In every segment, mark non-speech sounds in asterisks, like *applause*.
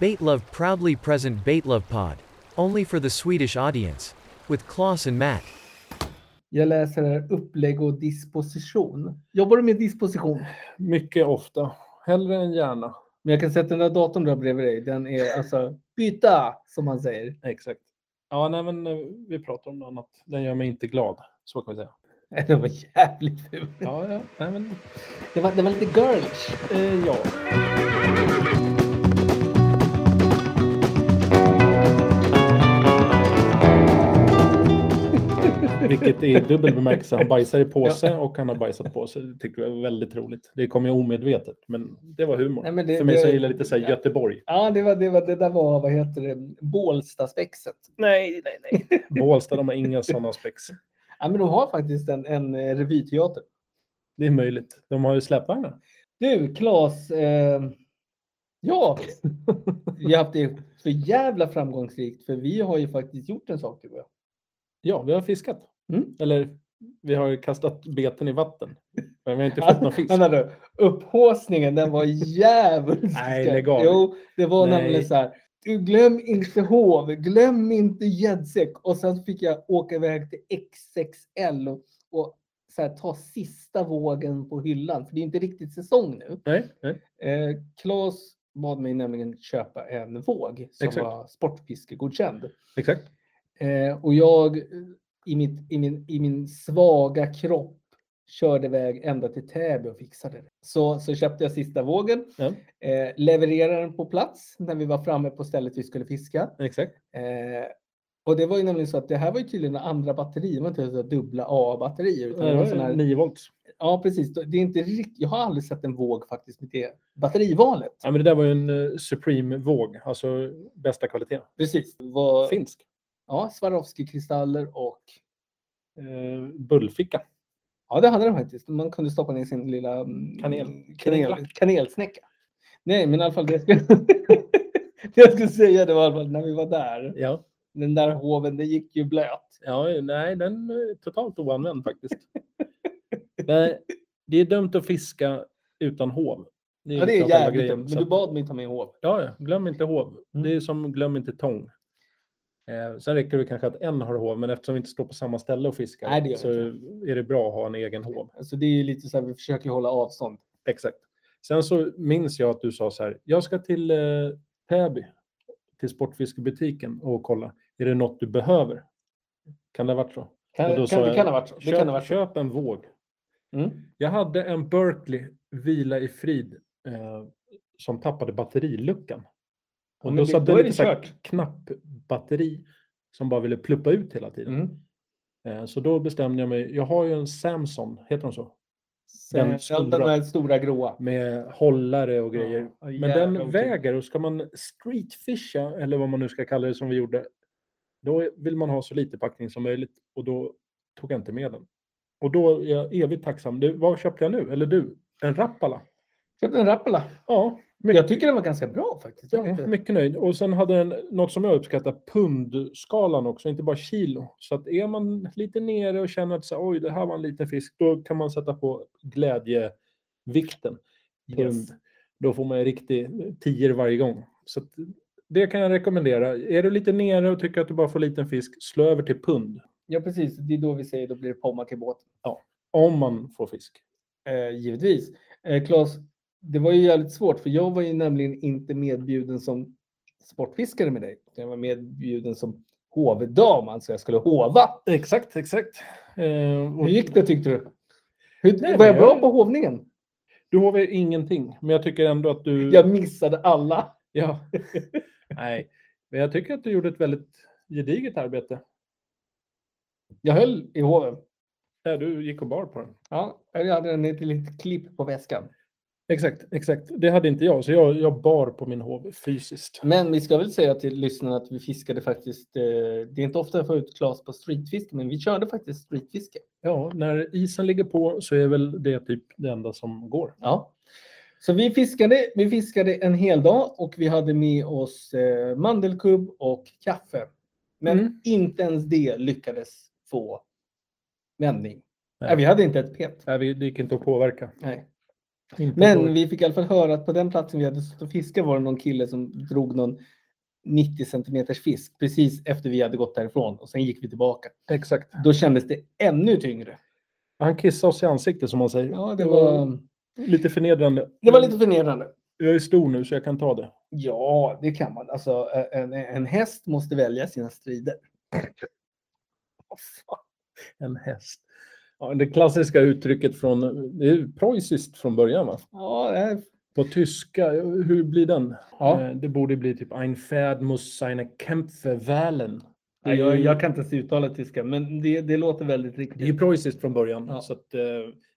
Baitlove proudly present Baitlove Pod. Only for the Swedish audience. With Klaus and Matt. Jag läser här upplägg och disposition. Jobbar du med disposition? Mycket ofta. Hellre än gärna. Men jag kan sätta den där datorn där bredvid dig. Den är alltså byta som man säger. *laughs* Exakt. Ja, nej, men eh, vi pratar om något annat. Den gör mig inte glad. Så kan vi säga. Det var jävligt ful. Ja, ja. Nej, men, Det var, det var lite girlish. eh, ja. Vilket är i dubbel bemärkelse. Han bajsar i påse och han har bajsat på sig. Det tycker jag är väldigt roligt. Det kom ju omedvetet, men det var humor. Nej, men det- För mig så det- gillar jag lite så här Göteborg. Ja, det, var, det, var, det där var, vad heter det, Bålstaspexet. Nej, nej, nej. Bålsta, de har inga sådana spex. *laughs* Ja, men de har faktiskt en, en eh, revyteater. Det är möjligt. De har ju släpvagnar. Du, Claes. Eh, ja, *laughs* vi har haft det för jävla framgångsrikt för vi har ju faktiskt gjort en sak, du och jag. Ja, vi har fiskat. Mm. Eller vi har ju kastat beten i vatten. Men vi *laughs* har inte fått någon fisk. Men vänta, upphåsningen, den var djävulsk. Nej, lägg av. Jo, det var Nej. nämligen så här. Du, glöm inte hov, glöm inte gäddsäck. Och sen fick jag åka iväg till XXL och, och så här, ta sista vågen på hyllan. För det är inte riktigt säsong nu. Nej, nej. Eh, Claes bad mig nämligen köpa en våg som Exakt. var sportfiskegodkänd. Exakt. Eh, och jag eh, i, mitt, i, min, i min svaga kropp körde iväg ända till Täby och fixade det. Så, så köpte jag sista vågen, Ja. eh, levererade den på plats när vi var framme på stället vi skulle fiska. Exakt. Eh, och det var ju nämligen så att det här var ju tydligen andra batterier, det var inte så här dubbla A-batterier. Utan det var sån här, 9 Eh, volt. ja, precis. Det är inte rikt, jag har aldrig sett en våg faktiskt med det batterivalet. Ja, men det där var ju en eh, Supreme-våg. Alltså bästa kvalitet. Precis. Det var, Finsk. ja, Swarovski-kristaller och Eh, bullficka. Ja, det hade den faktiskt. Man kunde stoppa ner sin lilla mm, Kanel. kanel, kanelsnäcka. Nej, men i alla fall det jag skulle, *laughs* det jag skulle säga det var i alla fall när vi var där. Ja. Den där hoven, den gick ju blöt. ja, nej, den är totalt oanvänd *laughs* faktiskt. nej, det är dumt att fiska utan hov. Ja, det är liksom själva jävligt grejen. dumt. Så Men du att- bad mig ta med hov. Ja, ja. glöm inte hov. Mm. Det är som glöm inte tång. Eh, sen räcker det kanske att en har hov, men eftersom vi inte står på samma ställe och fiskar Nej, det gör så är det bra att ha en egen hov. Alltså det är ju lite så här, vi försöker ju hålla avstånd. Exakt. Sen så minns jag att du sa så här, jag ska till eh, Täby, till sportfiskebutiken och kolla, är det något du behöver? Kan det ha varit så? Kan, Och då kan, sa det jag, kan ha varit så. Det Köp, kan ha varit så. köp en våg. Mm. Jag hade en Berkeley Vila i frid eh, som tappade batteriluckan. Och men då det- då satt det är lite det så här kört. knappbatteri som bara ville pluppa ut hela tiden. Mm. Eh, så då bestämde jag mig. Jag har ju en Samson, heter de så? Den Den, den, stora. den där stora gråa. Med hållare och grejer. Ja, Men jävla den otur. väger och ska man streetfisha eller vad man nu ska kalla det som vi gjorde. Då vill man ha så lite packning som möjligt och då tog jag inte med den. Och då är jag evigt tacksam. Du, vad köpte jag nu? Eller du? En Rappala? Köpte en Rappala. Ja, Jag tycker den var ganska bra faktiskt. Jag vet Ja, inte. mycket nöjd. Och sen hade den något som jag uppskattar, pundskalan också, inte bara kilo. Så att är man lite nere och känner att så, här, oj, det här var en liten fisk, då kan man sätta på glädjevikten. Pund. Yes. Då får man en riktig tior varje gång. Så att, det kan jag rekommendera. Är du lite nere och tycker att du bara får liten fisk, slå över till pund. Ja, precis. Det är då vi säger då blir det pomma till båten. Om man får fisk. Eh, givetvis. Eh, Claes, det var ju jävligt svårt för jag var ju nämligen inte medbjuden som sportfiskare med dig. Jag var medbjuden som hovdam, alltså jag skulle hova. Exakt, exakt. Eh, Hur och gick det tyckte du? Hur, Nej, var jag men bra jag- på hovningen? du har väl ingenting, men jag tycker ändå att du... Jag missade alla. Ja. *laughs* Nej, men jag tycker att du gjorde ett väldigt gediget arbete. Jag höll i hoven. Där du gick och bar på den. Ja, jag hade en ett litet klipp på väskan. Exakt, exakt. Det hade inte jag, så jag, jag bar på min hov fysiskt. Men vi ska väl säga till lyssnarna att vi fiskade faktiskt. Eh, det är inte ofta jag får ut Claes på streetfiske, men vi körde faktiskt streetfiske. Ja, när isen ligger på så är väl det typ det enda som går. Ja. Så vi fiskade, vi fiskade en hel dag och vi hade med oss eh, mandelkubb och kaffe. Men Mm. inte ens det lyckades få vändning. Nej. Nej. vi hade inte ett pet. Nej, vi- det gick inte att påverka. Nej. Inte Men dåligt. vi fick i alla fall höra att på den platsen vi hade suttit och fiskat var det någon kille som drog någon 90 centimeters fisk precis efter vi hade gått därifrån och sen gick vi tillbaka. Exakt. Då kändes det ännu tyngre. Han kissade oss i ansiktet som man säger. Ja, det var, Lite förnedrande. det var lite förnedrande. Jag är stor nu så jag kan ta det. Ja, det kan man. Alltså, en, en häst måste välja sina strider. Vad fan. En häst. Ja, det klassiska uttrycket från, det är ju preussiskt från början va? Ja, det är- På tyska, hur blir den? Ja. Eh, Det borde bli typ Ein Pferd muss seine Kämpfe wählen. Det är Nej, jag, ju- jag kan inte ens uttala tyska, men det, det låter väldigt Det är ju riktigt. preussiskt från början. Ja. Så att, eh,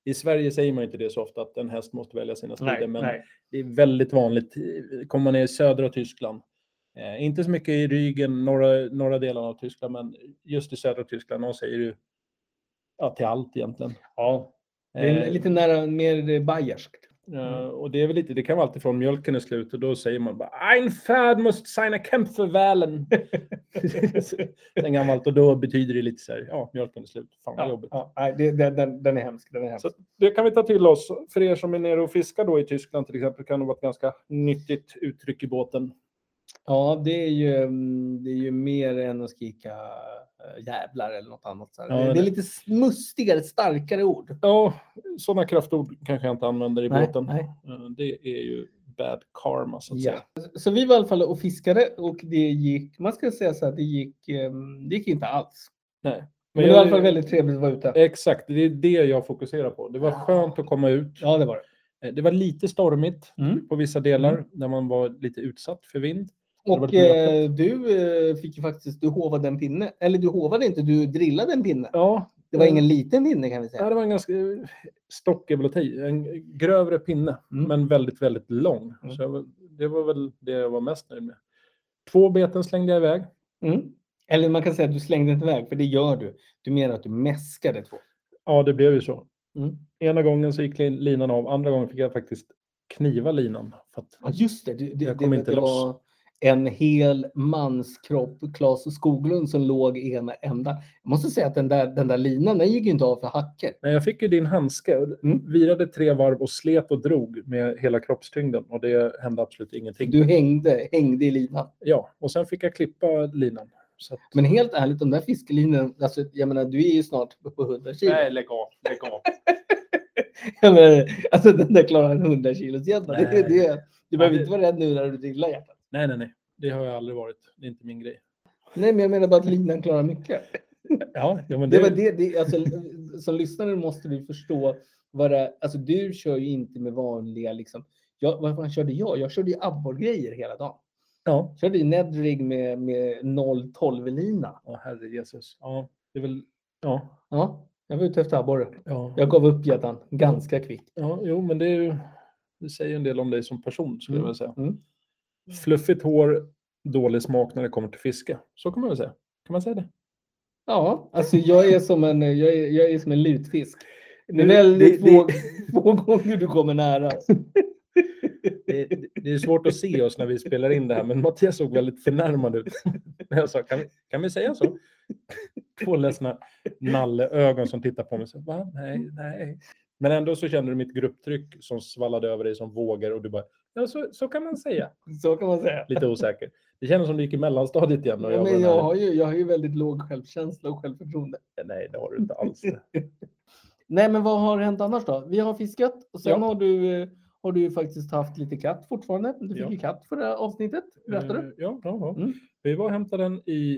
I Sverige säger man inte det så ofta att en häst måste välja sina strider. Nej, Men nej. det är väldigt vanligt. Kommer man ner i södra Tyskland. Eh, inte så mycket i Rügen, norra, norra delarna av Tyskland, men just i södra Tyskland. De säger ju ja, till allt egentligen. Ja, det är Eh, lite Mm. nära, mer bayerskt. *laughs* eh, och det, är väl lite, det kan vara alltifrån mjölken är slut och då säger man bara Ein Pferd must seine Kämpfe wählen. Sen gammalt och då betyder det lite så här, ja, mjölken är slut. Fan vad Ja, jobbigt. ja, nej, det, den, den, den är hemsk. Den är hemsk. Så att det kan vi ta till oss. För er som är nere och fiskar då i Tyskland till exempel kan det vara ett ganska nyttigt uttryck i båten. Ja, det är, ju, mm, det är ju mer än att skrika eh, jävlar eller något annat. Så här. Ja, det, det det- är lite smustigare, starkare ord. Ja, sådana kraftord kanske jag inte använder i Nej, båten. nej. Eh, Det är ju bad karma så att Ja. säga. Så vi var i alla fall och fiskade och det gick, man ska säga så här, det gick, ehm, det gick inte alls. Men, det var i alla fall väldigt trevligt att vara ute. Exakt, det är det jag fokuserar på. Det var skönt att komma ut. Ja, det var det. Eh, Det var lite stormigt Mm. på vissa delar när man var lite utsatt för vind. var Och lite öppet. eh, du eh, fick ju faktiskt, du hovade en pinne. Eller du hovade inte, du drillade en pinne. Ja, Det var eh, ingen liten pinne kan vi Ja, säga. det var en ganska stock är väl att ta i. En grövre pinne, Mm. men väldigt, väldigt lång. Mm. Så jag var- det var väl det jag var mest nöjd med. Två beten slängde jag iväg. Mm. Eller man kan säga att du slängde inte iväg, för det gör du. Du menar att du mäskade två. Ja, det blev ju så. Mm. Ena gången så gick lin- linan av, andra gången fick jag faktiskt kniva linan. För att, Ja, just det. det, det Jag kom det, inte det loss. var en hel manskropp, Claes Skoglund, som låg i ena ändan. Jag måste säga att den där, den där linan, den gick ju inte av för hacker. nej, jag fick ju din handske, Mm. virade tre varv och slet och drog med hela kroppstyngden och det hände absolut ingenting. Du hängde, hängde i linan. Ja, och sen fick jag klippa linan. Så att, Men helt ärligt, de där fiskelinorna, alltså, jag menar, du är ju snart uppe på 100 kilo. nej, lägg av, lägg av. Jag menar, alltså den där klarar en 100 kilos hjälpa. Det, Nej. är det. Du behöver det- inte vara rädd nu när du drillar hjärtat. nej, nej, nej, det har jag aldrig varit. Det är inte min grej. Nej, men jag menar bara att linan klarar mycket. Ja, ja men Det var det, det, alltså, som lyssnare måste du förstå vad det Alltså du kör ju inte med vanliga liksom. Jag, vad fan körde jag? Jag körde ju abborrgrejer hela dagen. Ja, Körde ju Nedrig med, med 012 lina. Ja, herre Jesus. Ja, det är väl... Ja. Ja, jag var ute efter abborre. Ja, Jag gav upp gäddan ganska kvickt. ja jo, men det är ju... Det säger en del om dig som person, skulle jag vilja säga. Mm. Fluffigt hår, dålig smak när det kommer till fiske. Så kan man väl säga. Kan man säga det? Ja, alltså jag är som en, jag är, jag är som en lutfisk. Det är Det- väldigt det- det- få, *laughs* få gånger du kommer nära. Det, är svårt att se oss när vi spelar in det här, men Mattias såg väldigt förnärmad ut. När jag sa, kan vi, kan vi säga så? Två ledsna nalleögon som tittar på mig. Så, Va? Nej, nej. Men ändå så kände du mitt grupptryck som svallade över dig som vågor och du bara, ja, så, så kan man säga. Så kan man säga. lite osäker. Det kändes som du gick i mellanstadiet igen. Och Ja, jag var men den jag, här- har ju, jag har ju väldigt låg självkänsla och självförtroende. Nej, det har du *laughs* inte alls. Nej, men vad har hänt annars då? Vi har fiskat och sen Ja. har, du, eh, har du ju faktiskt haft lite katt fortfarande. Du fick Ja. ju katt för det här avsnittet. Berättar Eh, du? Ja, ja, ja. Mm. Vi var och hämtade den i...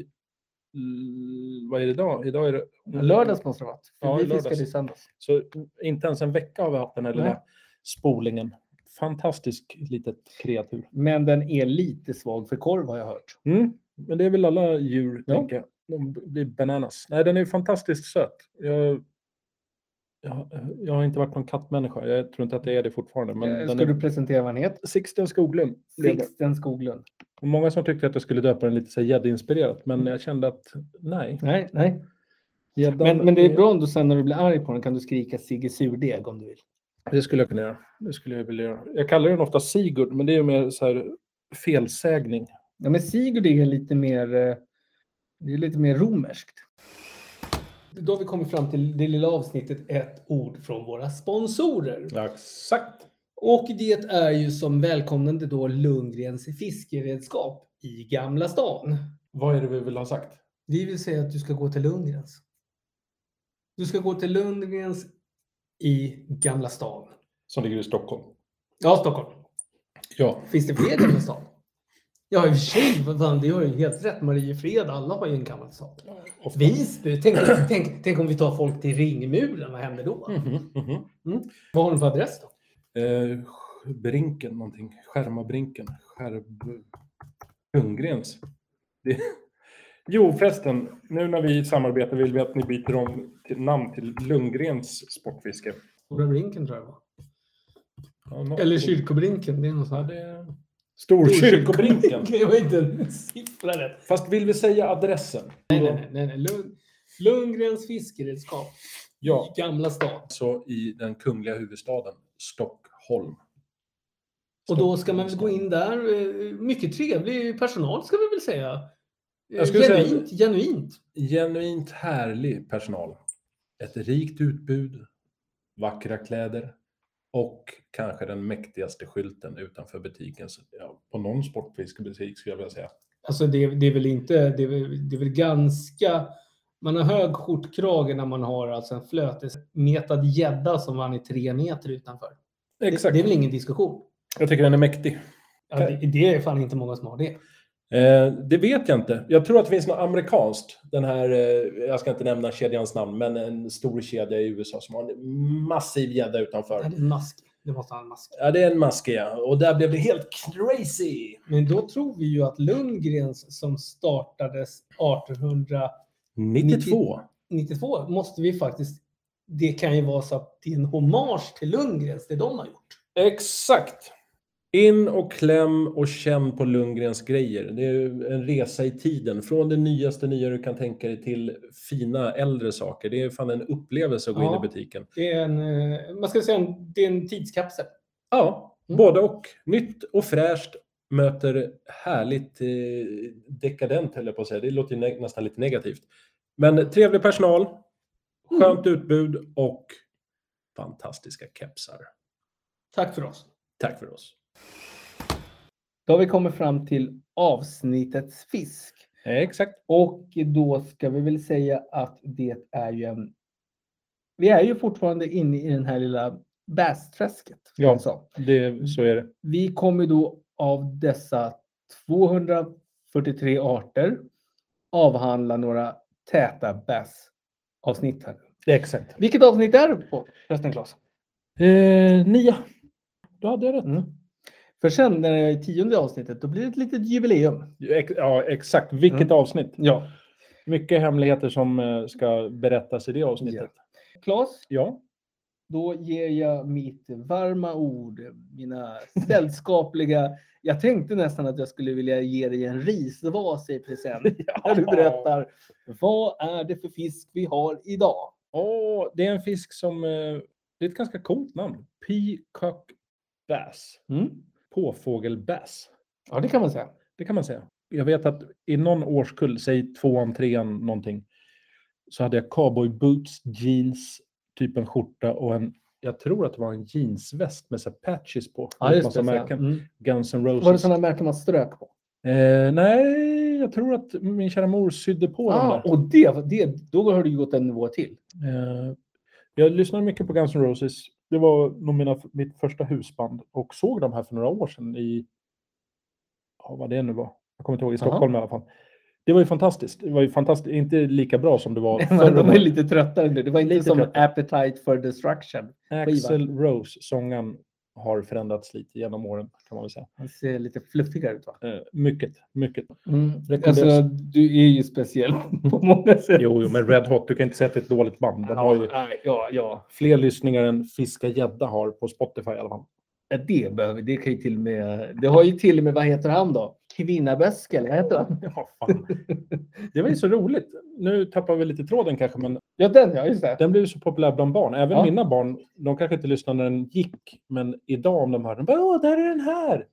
l- Vad är det idag? Idag är det... Lördags måste det ha varit. för Ja, vi lördags. fiskade i söndags. Så inte ens en vecka har vi haft den här Nej. lilla spolingen. Fantastisk litet kreatur. Men den är lite svag för korv har jag hört. Mm. Men det är väl alla djur, Ja. tänker jag. De b- blir bananas. Nej, den är fantastiskt söt. Jag, jag, jag har inte varit någon kattmänniska. Jag tror inte att jag är det fortfarande. Men Eh, den Ska är... du presentera vad den heter? Sixten Skoglund. blev det. Sixten Skoglund. Och många som tyckte att jag skulle döpa den lite så här gäddinspirerat, men jag kände att nej. Nej, nej. Gäddan- Men, men det är bra ändå sen när du blir arg på den kan du skrika Sigge Surdeg om du vill. Det skulle jag kunna göra. Det skulle jag vilja göra. Jag kallar den ofta Sigurd, men det är ju mer så här felsägning. Ja, men Sigurd är lite mer, eh, det är lite mer romerskt. Då har vi kommit fram till det lilla avsnittet Ett ord från våra sponsorer. Exakt. Och det är ju som välkomnande då Lundgrens fiskeredskap i Gamla stan. Vad är det vi vill ha sagt? Vi vill säga att du ska gå till Lundgrens. Du ska gå till Lundgrens i Gamla stan. Som ligger i Stockholm. Ja, Stockholm. Ja. Finns det fler Gamla stan? Ja, i och för sig. vad fan, Det har ju helt rätt. Mariefred, alla har ju en Gamla stan. ofta. Visby. Tänk, tänk, tänk om vi tar folk till Ringmuren. Vad händer då? Mhm, mhm. Vad har de för adress då? Eh, brinken någonting. Skärmabrinken. Skärb... Ljunggrens. Det... *laughs* Jo förresten, nu när vi samarbetar vill vi att ni byter om till namn till Lundgrens Sportfiske. Stora Brinken tror jag det var. Ja, nå- Eller Kyrkobrinken. Det är något Ja, sånt. här. det... Storkyrkobrinken. *laughs* Det var inte en siffra rätt. *laughs* Fast vill vi säga adressen? Nej, nej, nej. nej. Lund, Lundgrens fiskeredskap. Ja, Gamla stan. så i den kungliga huvudstaden Stockholm. Och då ska man väl gå in där. eh, Mycket trevlig personal ska vi väl säga. Eh, Jag skulle säga- genuint, genuint. Genuint härlig personal. Ett rikt utbud, vackra kläder och kanske den mäktigaste skylten utanför butiken. Så, Ja, på någon sportfiskebutik skulle jag vilja säga. Alltså det, det är väl inte, det är väl, det är väl ganska, man har hög skjortkrage när man har alltså en flötesmetad gädda som man är tre meter utanför. Det, Exakt. det är väl ingen diskussion. Jag tycker den är mäktig. Ja, det, det är fan inte många som har det. Eh, det vet jag inte. Jag tror att det finns något amerikanskt. Den här, eh, jag ska inte nämna kedjans namn, men en stor kedja i USA som har en massiv gädda Det utanför. är en mask. Det måste ha en mask. Ja, det är en maske, ja. Och där blev det helt crazy! Men då tror vi ju att Lundgrens som startades 1892 92. måste vi faktiskt, det kan ju vara så att det är en hommage till Lundgrens, det de har gjort. Exakt! In och kläm och känn på Lundgrens grejer. Det är en resa i tiden. Från det nyaste nya du kan tänka dig till fina äldre saker. Det är fan en upplevelse att gå Ja. in i butiken. Det är en, eh, man ska säga en, det är en tidskapsel. Ja, Mm. både och. Nytt och fräscht möter härligt eh, dekadent, höll jag på att säga. Det låter ju nä- nästan lite negativt. Men trevlig personal, skönt utbud och fantastiska kepsar. Tack för oss. Tack för oss. Då har vi kommit fram till avsnittets fisk. Exakt. Och då ska vi väl säga att det är ju en... Vi är ju fortfarande inne i den här lilla bästräsket. som Ja. jag sa. Det, så är det. Vi kommer då av dessa 243 arter avhandla några täta bass avsnitt här. Exakt. Vilket avsnitt är du på förresten Claes? Eh, nia. Då hade jag rätt. Mm. För sen när jag är i tionde avsnittet, då blir det ett litet jubileum. Ex- Ja, exakt. Vilket Mm. avsnitt. Ja. Mycket hemligheter som eh, ska berättas i det avsnittet. Claes, Ja. då ger jag mitt varma ord, mina sällskapliga... Jag tänkte nästan att jag skulle vilja ge dig en risvas i *laughs* present när du berättar vad är det för fisk vi har idag? Åh, det är en fisk som... eh, Det är ett ganska coolt namn. Peacock bass. Påfågelbass. Mm. Ja, det kan man säga. Det kan man säga. Jag vet att i någon årskull, säg tvåan, trean någonting, så hade jag cowboy boots, jeans, typ en skjorta och en, jag tror att det var en jeansväst med så här patches på. Ja, just massa det. märken. Mm. Guns N' Roses. Var det sådana märken man strök på? Eh, nej, jag tror att min kära mor sydde på dem Ah, där. och det, det, då har du ju gått en nivå *laughs* till. Eh, jag lyssnade mycket på Guns N' Roses. Det var nog mina, mitt första husband och såg dem här för några år sedan i, ja, vad det nu var, jag kommer inte ihåg, i Aha. Stockholm i alla fall. Det var ju fantastiskt. Det var ju fantastiskt, inte lika bra som det var *laughs* förr. De är lite tröttare nu. Det var inte Lite som tröttare. Appetite for Destruction. Axel Rose, sångaren, har förändrats lite genom åren kan man väl säga. Han ser lite fluffigare ut va? Eh, mycket, mycket. Alltså, du är ju speciell *laughs* på många sätt. Jo, jo, men Red Hot, du kan inte säga att det är ett dåligt band. De har ju Ja, ja, ja. fler lyssningar än Fiska Gädda har på Spotify i alla fall. Ja, Det behöver det kan ju till och med... Det har ju till och med, vad heter han då? Kvinnaböske, eller vad heter han? *laughs* Ja, fan. Det var ju så roligt. Nu tappar vi lite tråden kanske, men Ja, den ja, just det. den blev ju så populär bland barn. Även Ja. mina barn, de kanske inte lyssnade när den gick, men idag om de hör den, bara, åh, där är den här!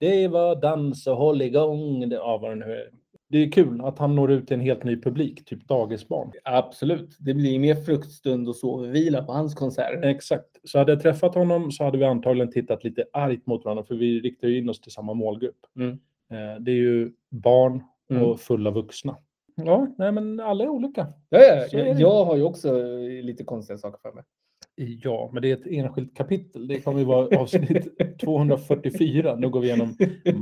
Det var dans och håll igång, det- ja, vad den nu är. Det är kul att han når ut till en helt ny publik, typ dagisbarn. Absolut. Det blir mer fruktstund och sovvila på hans Eh, konserter. Exakt. Så hade jag träffat honom så hade vi antagligen tittat lite argt mot varandra för vi riktar ju in oss till samma målgrupp. Mm. Eh, Det är ju barn Mm. och fulla vuxna. Ja, nej men alla är olika. Ja, ja, Så är jag, det. jag har ju också eh, lite konstiga saker för mig. Ja, men det är ett enskilt kapitel. Det kommer ju vara *laughs* avsnitt 244. Nu går vi igenom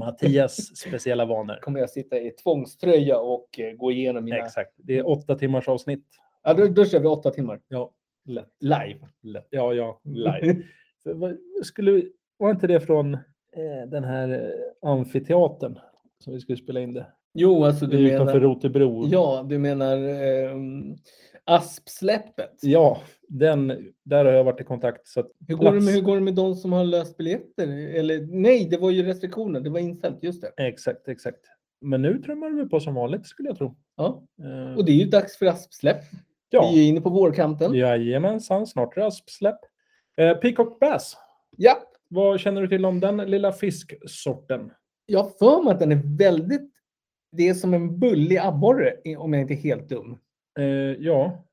Mattias speciella vanor. Kommer jag sitta i tvångströja och eh, gå igenom mina... Exakt. Det är åtta timmars avsnitt. Ja, då, då kör vi åtta timmar. Ja, Live. lätt. Ja, ja, live. *laughs* För vad- Skulle, var inte det från eh, den här eh, amfiteatern som vi skulle spela in det? jo, alltså Det är du utanför menar... Rotebro. Ja, du menar ehm, Aspsläppet. Ja, den, där har jag varit i kontakt. Så att, Hur går, det med, plats. hur går det med de som har löst biljetter? Eller nej, det var ju restriktioner. Det var inställt, just det. exakt, exakt. Men nu trummar vi på som vanligt skulle jag tro. Ja. Eh, Och det är ju dags för Aspsläpp. Vi ja, är inne på vårkanten. jajamensan, snart raspsläpp. Eh, Peacock Bass, Ja, vad känner du till om den lilla fisksorten? jag har för mig att den är väldigt... Det är som en bullig abborre, i- om jag inte är helt dum. Eh, ja,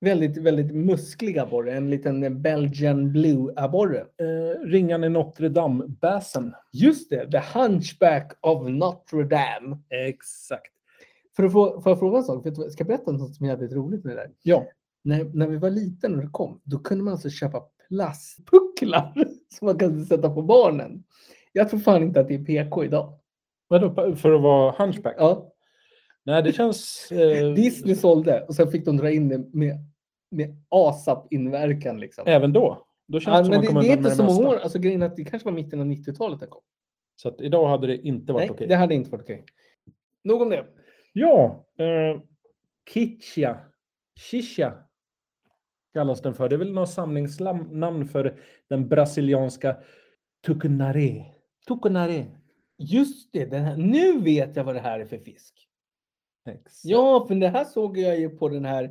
Väldigt, väldigt musklig abborre. En liten Belgian blue abborre. eh, ringan i Notre Dame-bassen. Just det, The Hunchback of Notre Dame. Exakt. För att få, får jag fråga en sak? Vet du, vad- ska jag berätta något som är jävligt roligt med det där? Ja. När, när vi var liten och det kom, då kunde man alltså köpa plastpucklar *laughs* som man kunde sätta på barnen. Jag tror fan inte att det är PK idag. Vadå, pa- för att vara hunchback? Ja, Nej, det känns... *laughs* Eh, Disney sålde och sen fick de dra in det med, med ASAP-inverkan. Liksom. Även då. Då Ja, känns det Eh, som men man det, kommer det är undan inte med så det många år. mesta. Alltså, grejen är att det kanske var mitten av 90-talet den kom. Så att idag hade det inte varit Nej, okej. det hade inte varit okej. Nog om det. Ja, eh, Kitschia. Shisha kallas den för. Det är väl något samlingsnamn för den brasilianska tucunaré. Tucunaré. Just det, den här, nu vet jag vad det här är för fisk. Exakt. Ja, för det här såg jag ju på den här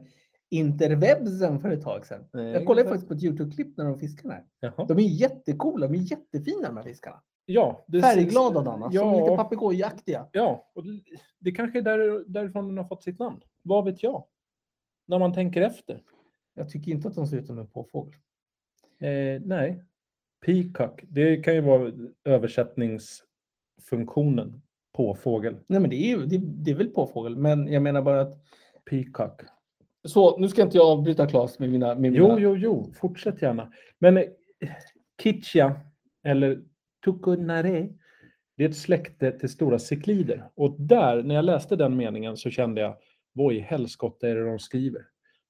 interwebsen för ett tag sedan. Jag kollade faktiskt på ett Youtube-klipp när de fiskarna här. Jaha. De är jättecoola, de är jättefina de här fiskarna. Ja, det Färgglada Danna, som lite Ja, papegojaktiga. ja och det- det kanske är där, därifrån den har fått sitt namn. Vad vet jag? När man tänker efter. Jag tycker inte att de ser ut som en påfågel. Eh, nej. Peacock. Det kan ju vara översättningsfunktionen. Påfågel. Nej, men det är ju det, det är väl påfågel, men jag menar bara att... Peacock. Så, nu ska inte jag avbryta Claes med mina... Med mina... Jo, jo, jo. Fortsätt gärna. Men eh, Kitschia, eller Tucunare, det är ett släkte till stora ciklider. Och där, när jag läste den meningen så kände jag, vad i helskotta är det de skriver?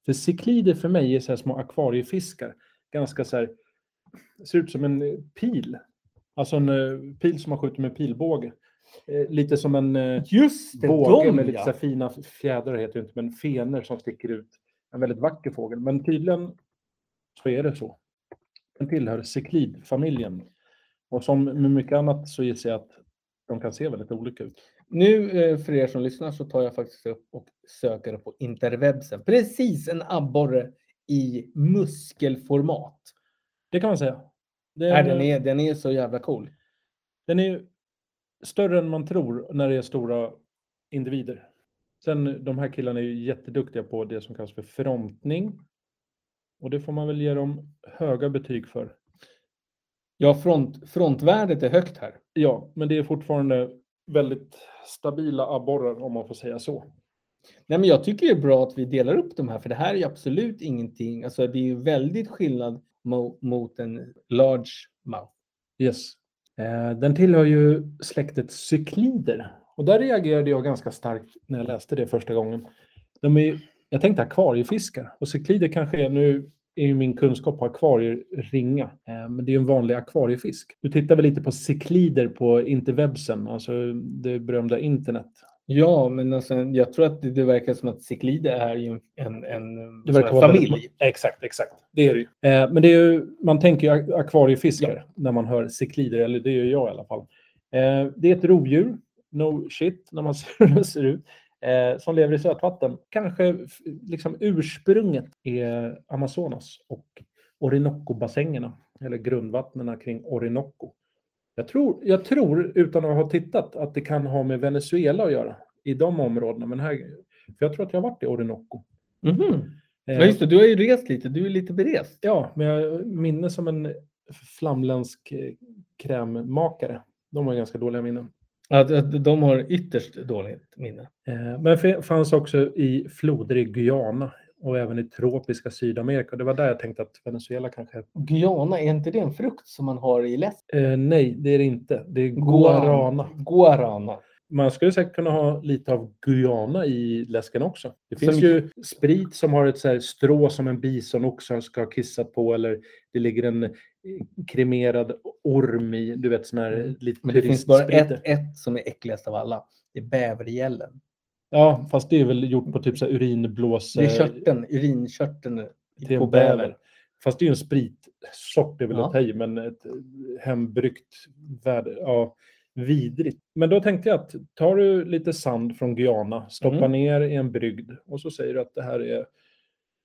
För ciklider för mig är så här små akvariefiskar. Ganska så här, ser ut som en eh, pil. Alltså en eh, pil som man skjuter med pilbåge. Eh, Lite som en... eh, Just det, båge med de lite så ja. här fina fjädrar heter det inte, men fenor som sticker ut. En väldigt vacker fågel, men tydligen så är det så. Den tillhör ciklidfamiljen. Och som med mycket annat så gissar jag att de kan se väldigt olika ut. Nu eh, för er som lyssnar så tar jag faktiskt upp och söker på interwebsen. Precis en abborre i muskelformat. Det kan man säga. Den, Nej, den, är, den är så jävla cool. den är ju större än man tror när det är stora individer. Sen de här killarna är ju jätteduktiga på det som kallas för frontning. Och det får man väl ge dem höga betyg för. Ja, front, frontvärdet är högt här. Ja, men det är fortfarande väldigt stabila abborrar om man får säga så. Nej, men jag tycker det är bra att vi delar upp de här, för det här är ju absolut ingenting. Alltså, det är ju väldigt skillnad mo, mot en large mouth. Yes. Eh, den tillhör ju släktet cyklider. Och där reagerade jag ganska starkt när jag läste det första gången. De är, jag tänkte akvariefiskar och cyklider kanske är, nu är ju min kunskap på akvarier ringa, eh, men det är ju en vanlig akvariefisk. Du tittar väl lite på cyklider på interwebsen, alltså det berömda internet. Ja, men alltså, jag tror att det, det verkar som att ciklide är ju en, en, en Det verkar sån här vara familj. väldigt- Alltså, Exakt, exakt. Det är det ju. Eh, men det är ju, man tänker ju ak- akvariefiskar när man hör ciklider, eller det gör jag i alla fall. Eh, det är ett rovdjur, no shit, när man *laughs* ser hur det ser ut, eh, som lever i sötvatten. Kanske f- liksom ursprunget är Amazonas och Orinoco-bassängerna, eller grundvattnen kring Orinoco. Jag tror, jag tror, utan att ha tittat, att det kan ha med Venezuela att göra i de områdena. Men här, för jag tror att jag har varit i Orinoco. Mhm. Eh, Ja, just det. Du har ju rest lite. Du är lite berest. Ja, men jag minns som en flamländsk eh, krämmakare. De har ganska dåliga minnen. Att, att de har ytterst dåligt minne. Eh, Men det fanns också i flodrig Guyana och även i tropiska Sydamerika. Det var där jag tänkte att Venezuela kanske... Guyana, är inte det en frukt som man har i läsk? Eh, nej, det är det inte. Det är guarana. Guarana. Man skulle säkert kunna ha lite av Guyana i läsken också. Det finns Som- ju sprit som har ett så här strå som en bisonoxe ska kissa på eller det ligger en eh, kremerad orm i, du vet sån här lite Mm. Men det finns bara turistspriter. ett, ett som är äckligast av alla. Det är bävergällen. Ja, fast det är väl gjort på typ så här urinblås... Det är eh, körteln, urinkörteln till på en bäver. bäver. Fast det är ju en spritsort, det är väl Ja. att ta i, men ett hembryggt värde. Ja, vidrigt. Men då tänkte jag att tar du lite sand från Guyana, stoppar Mm. ner i en brygd och så säger du att det här är,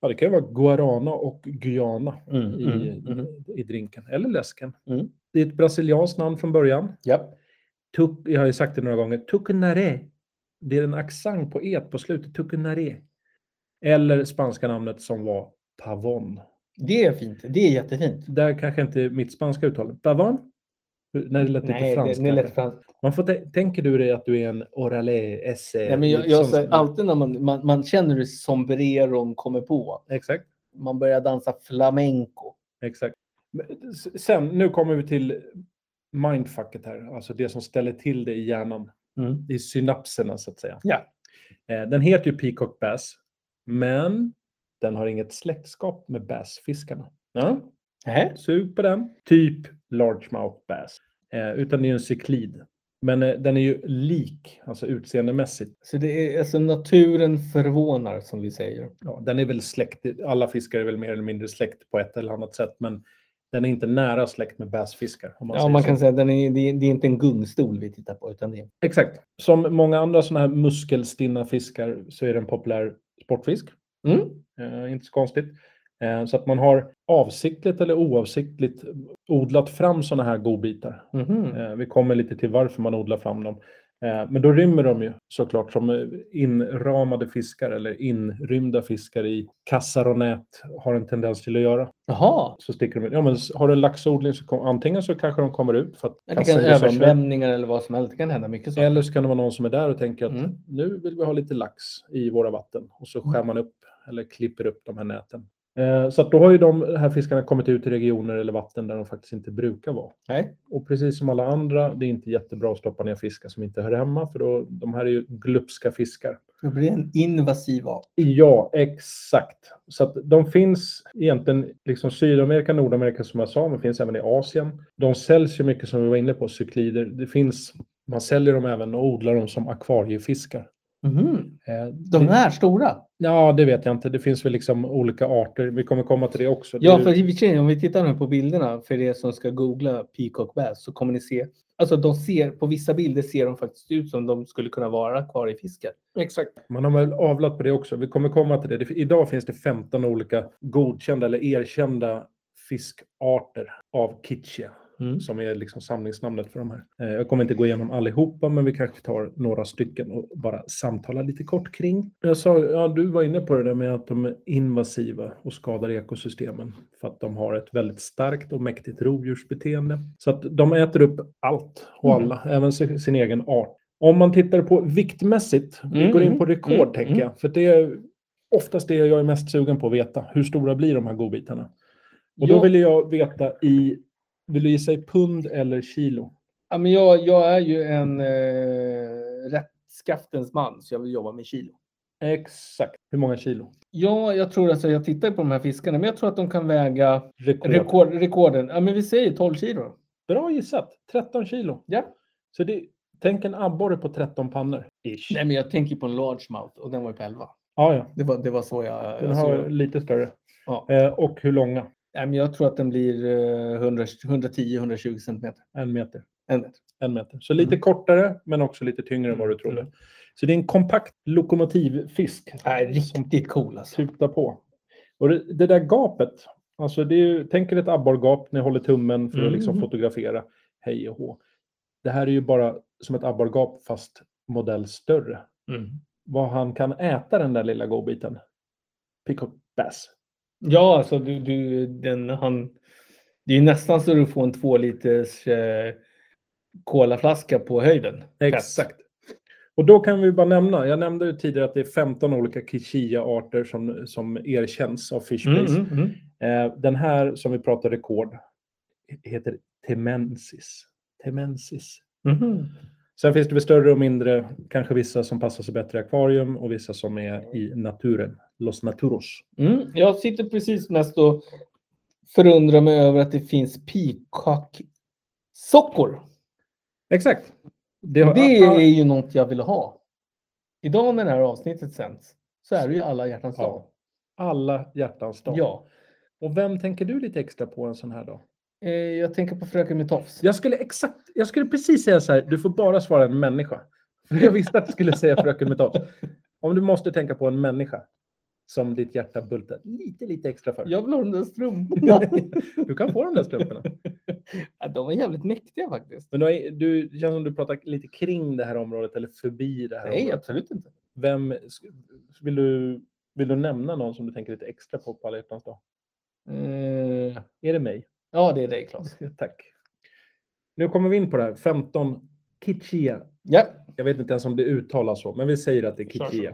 ja det kan ju vara guarana och Guyana Mm, i, mm, mm. i drinken, eller läsken. Mm. Det är ett brasilianskt namn från början. Japp. Tuck, jag har ju sagt det några gånger. Tucunaré. Det är en accent på et på slutet. Tucunaré. Eller spanska namnet som var pavon. Det är fint. Det är jättefint. Där kanske inte mitt spanska uttal. Pavon? Nej, det lät lite Nej, det, franskt. det är lätt kanske. franskt. Man får tä- tänker du dig att du är en oralé, esse? liksom Nej, men jag, lite jag, sån- säger alltid när man, man, man känner hur sombreron kommer på. Exakt. Man börjar dansa flamenco. Exakt. Men s- Sen, nu kommer vi till mindfucket här. Alltså det som ställer till det i hjärnan. Mm. i synapserna så att säga. Ja. Eh, Den heter ju Peacock Bass, men den har inget släktskap med bassfiskarna. Ja, Nähä. sug på den. Typ Largemouth Bass, eh, utan det är ju en cyklid. Men eh, den är ju lik, alltså utseendemässigt. Så det är alltså naturen förvånar som vi säger. Ja, den är väl släkt, alla fiskar är väl mer eller mindre släkt på ett eller annat sätt, men den är inte nära släkt med bassfiskar. Om man Ja, säger man så. kan säga att den är, det, är, det är inte en gungstol vi tittar på utan det är Exakt. Som många andra sådana här muskelstinna fiskar så är den populär sportfisk. Mm. Eh, inte så konstigt. Eh, så att man har avsiktligt eller oavsiktligt odlat fram sådana här godbitar. Mhm. Eh, vi kommer lite till varför man odlar fram dem. Eh, men då rymmer de ju såklart som eh, inramade fiskar eller inrymda fiskar i kassar och nät har en tendens till att göra. Jaha, Så sticker de ut. Ja, men s- har du en laxodling så kom, antingen så kanske de kommer ut för att det kan kassar är sönder. översvämningar eller vad som helst. Det kan hända mycket saker. Eller så kan det vara någon som är där och tänker att Mm. nu vill vi ha lite lax i våra vatten. Och så skär man upp eller klipper upp de här näten. Eh, Så att då har ju de här fiskarna kommit ut i regioner eller vatten där de faktiskt inte brukar vara. Nej. Och precis som alla andra, det är inte jättebra att stoppa ner fiskar som inte hör hemma, för då, de här är ju glupska fiskar. Det blir en invasiv art. Ja, exakt. Så att de finns egentligen, liksom Sydamerika, Nordamerika som jag sa, men finns även i Asien. De säljs ju mycket som vi var inne på, cyklider. Det finns, man säljer dem även och odlar dem som akvariefiskar. Mhm. Eh, De det- här stora. Ja, det vet jag inte. Det finns väl liksom olika arter. Vi kommer komma till det också. Det Ja, är- för i och för sig, om vi tittar nu på bilderna för er som ska googla Peacock Bass så kommer ni se. Alltså de ser, på vissa bilder ser de faktiskt ut som de skulle kunna vara akvariefiskar. Exakt. Man har väl avlat på det också. Vi kommer komma till det. det. Idag finns det 15 olika godkända eller erkända fiskarter av kitschia. Mm. som är liksom samlingsnamnet för de här. Eh, Jag kommer inte gå igenom allihopa, men vi kanske tar några stycken och bara samtala lite kort kring. Jag sa, ja, du var inne på det där med att de är invasiva och skadar ekosystemen för att de har ett väldigt starkt och mäktigt rovdjursbeteende. Så att de äter upp allt och alla, även sin, sin egen art. Om man tittar på viktmässigt, vi Mm, går in på mm, rekord mm, tänker mm. jag, för det är oftast det jag är mest sugen på att veta. Hur stora blir de här godbitarna? Och då Mm. Ja. ville jag veta i vill du gissa i pund eller kilo? Ja, men jag, jag är ju en eh, rättskaftens man så jag vill jobba med kilo. Exakt. Hur många kilo? Ja, jag tror alltså, jag tittar på de här fiskarna, men jag tror att de kan väga Rekord. rekord, rekorden. Ja, men vi säger 12 kilo. Bra gissat. 13 kilo. Ja. Så det, tänk en abborre på 13 pannor. Ish. Nej, men jag tänker på en large mouth och den var ju på 11. Ja, ja. Det var, det var så jag... Den jag såg har det. lite större. Ja. Eh, och hur långa? Nej, men jag tror att den blir eh, 100 110-120 centimeter. En meter. En meter. En meter. Så lite Mm. kortare, men också lite tyngre än vad du trodde. Så det är en kompakt lokomotivfisk. Nej, som riktigt cool alltså. tuta på. Och det, det där gapet, alltså det är ju, tänk er ett abborrgap, ni håller tummen för att Mm. liksom fotografera, hej och hå. Det här är ju bara som ett abborrgap fast modell större. Mm. vad han kan äta den där lilla godbiten. Pick up bass. Ja, alltså du, du, den, han, det är ju nästan så du får en två liters eh, colaflaska på höjden. Exakt. Och då kan vi bara nämna, jag nämnde ju tidigare att det är 15 olika Kichia-arter som, som erkänns av Mm, Fishbase. mm, mm. Eh, den här som vi pratar rekord heter Temensis. Temensis. Mhm. Sen finns det väl större och mindre, kanske vissa som passar sig bättre i akvarium och vissa som är i naturen. Los Naturos. Mm, jag sitter precis mest och förundrar mig över att det finns peacock-sockor. Exakt. Det, Det har- är ju något jag vill ha. Idag när det här avsnittet sänds så är det ju alla hjärtans dag. Ja. alla hjärtans dag. Ja. Och vem tänker du lite extra på en sån här dag? Eh, jag tänker på Fröken med tofs. Jag skulle, exakt, jag skulle precis säga så här, du får bara svara en människa. *laughs* För jag visste att du skulle säga fröken med tofs. Om du måste tänka på en människa som ditt hjärta bultar lite, lite extra för. Jag vill ha de där strumporna. Du kan få de där strumporna. *laughs* ja, de var jävligt mäktiga faktiskt. Men du, har- du det känns som du pratar lite kring det här området eller förbi det här Nej, området. absolut inte. Vem, sk- vill, du, vill du nämna någon som du tänker lite extra på på alla hjärtans dag? Eh, Är det mig? *laughs* ja, det är dig Claes. Tack. Nu kommer vi in på det här. 15 Kitchia Ja. Jag vet inte ens om det uttalas så, men vi säger att det är Kör, Kikia.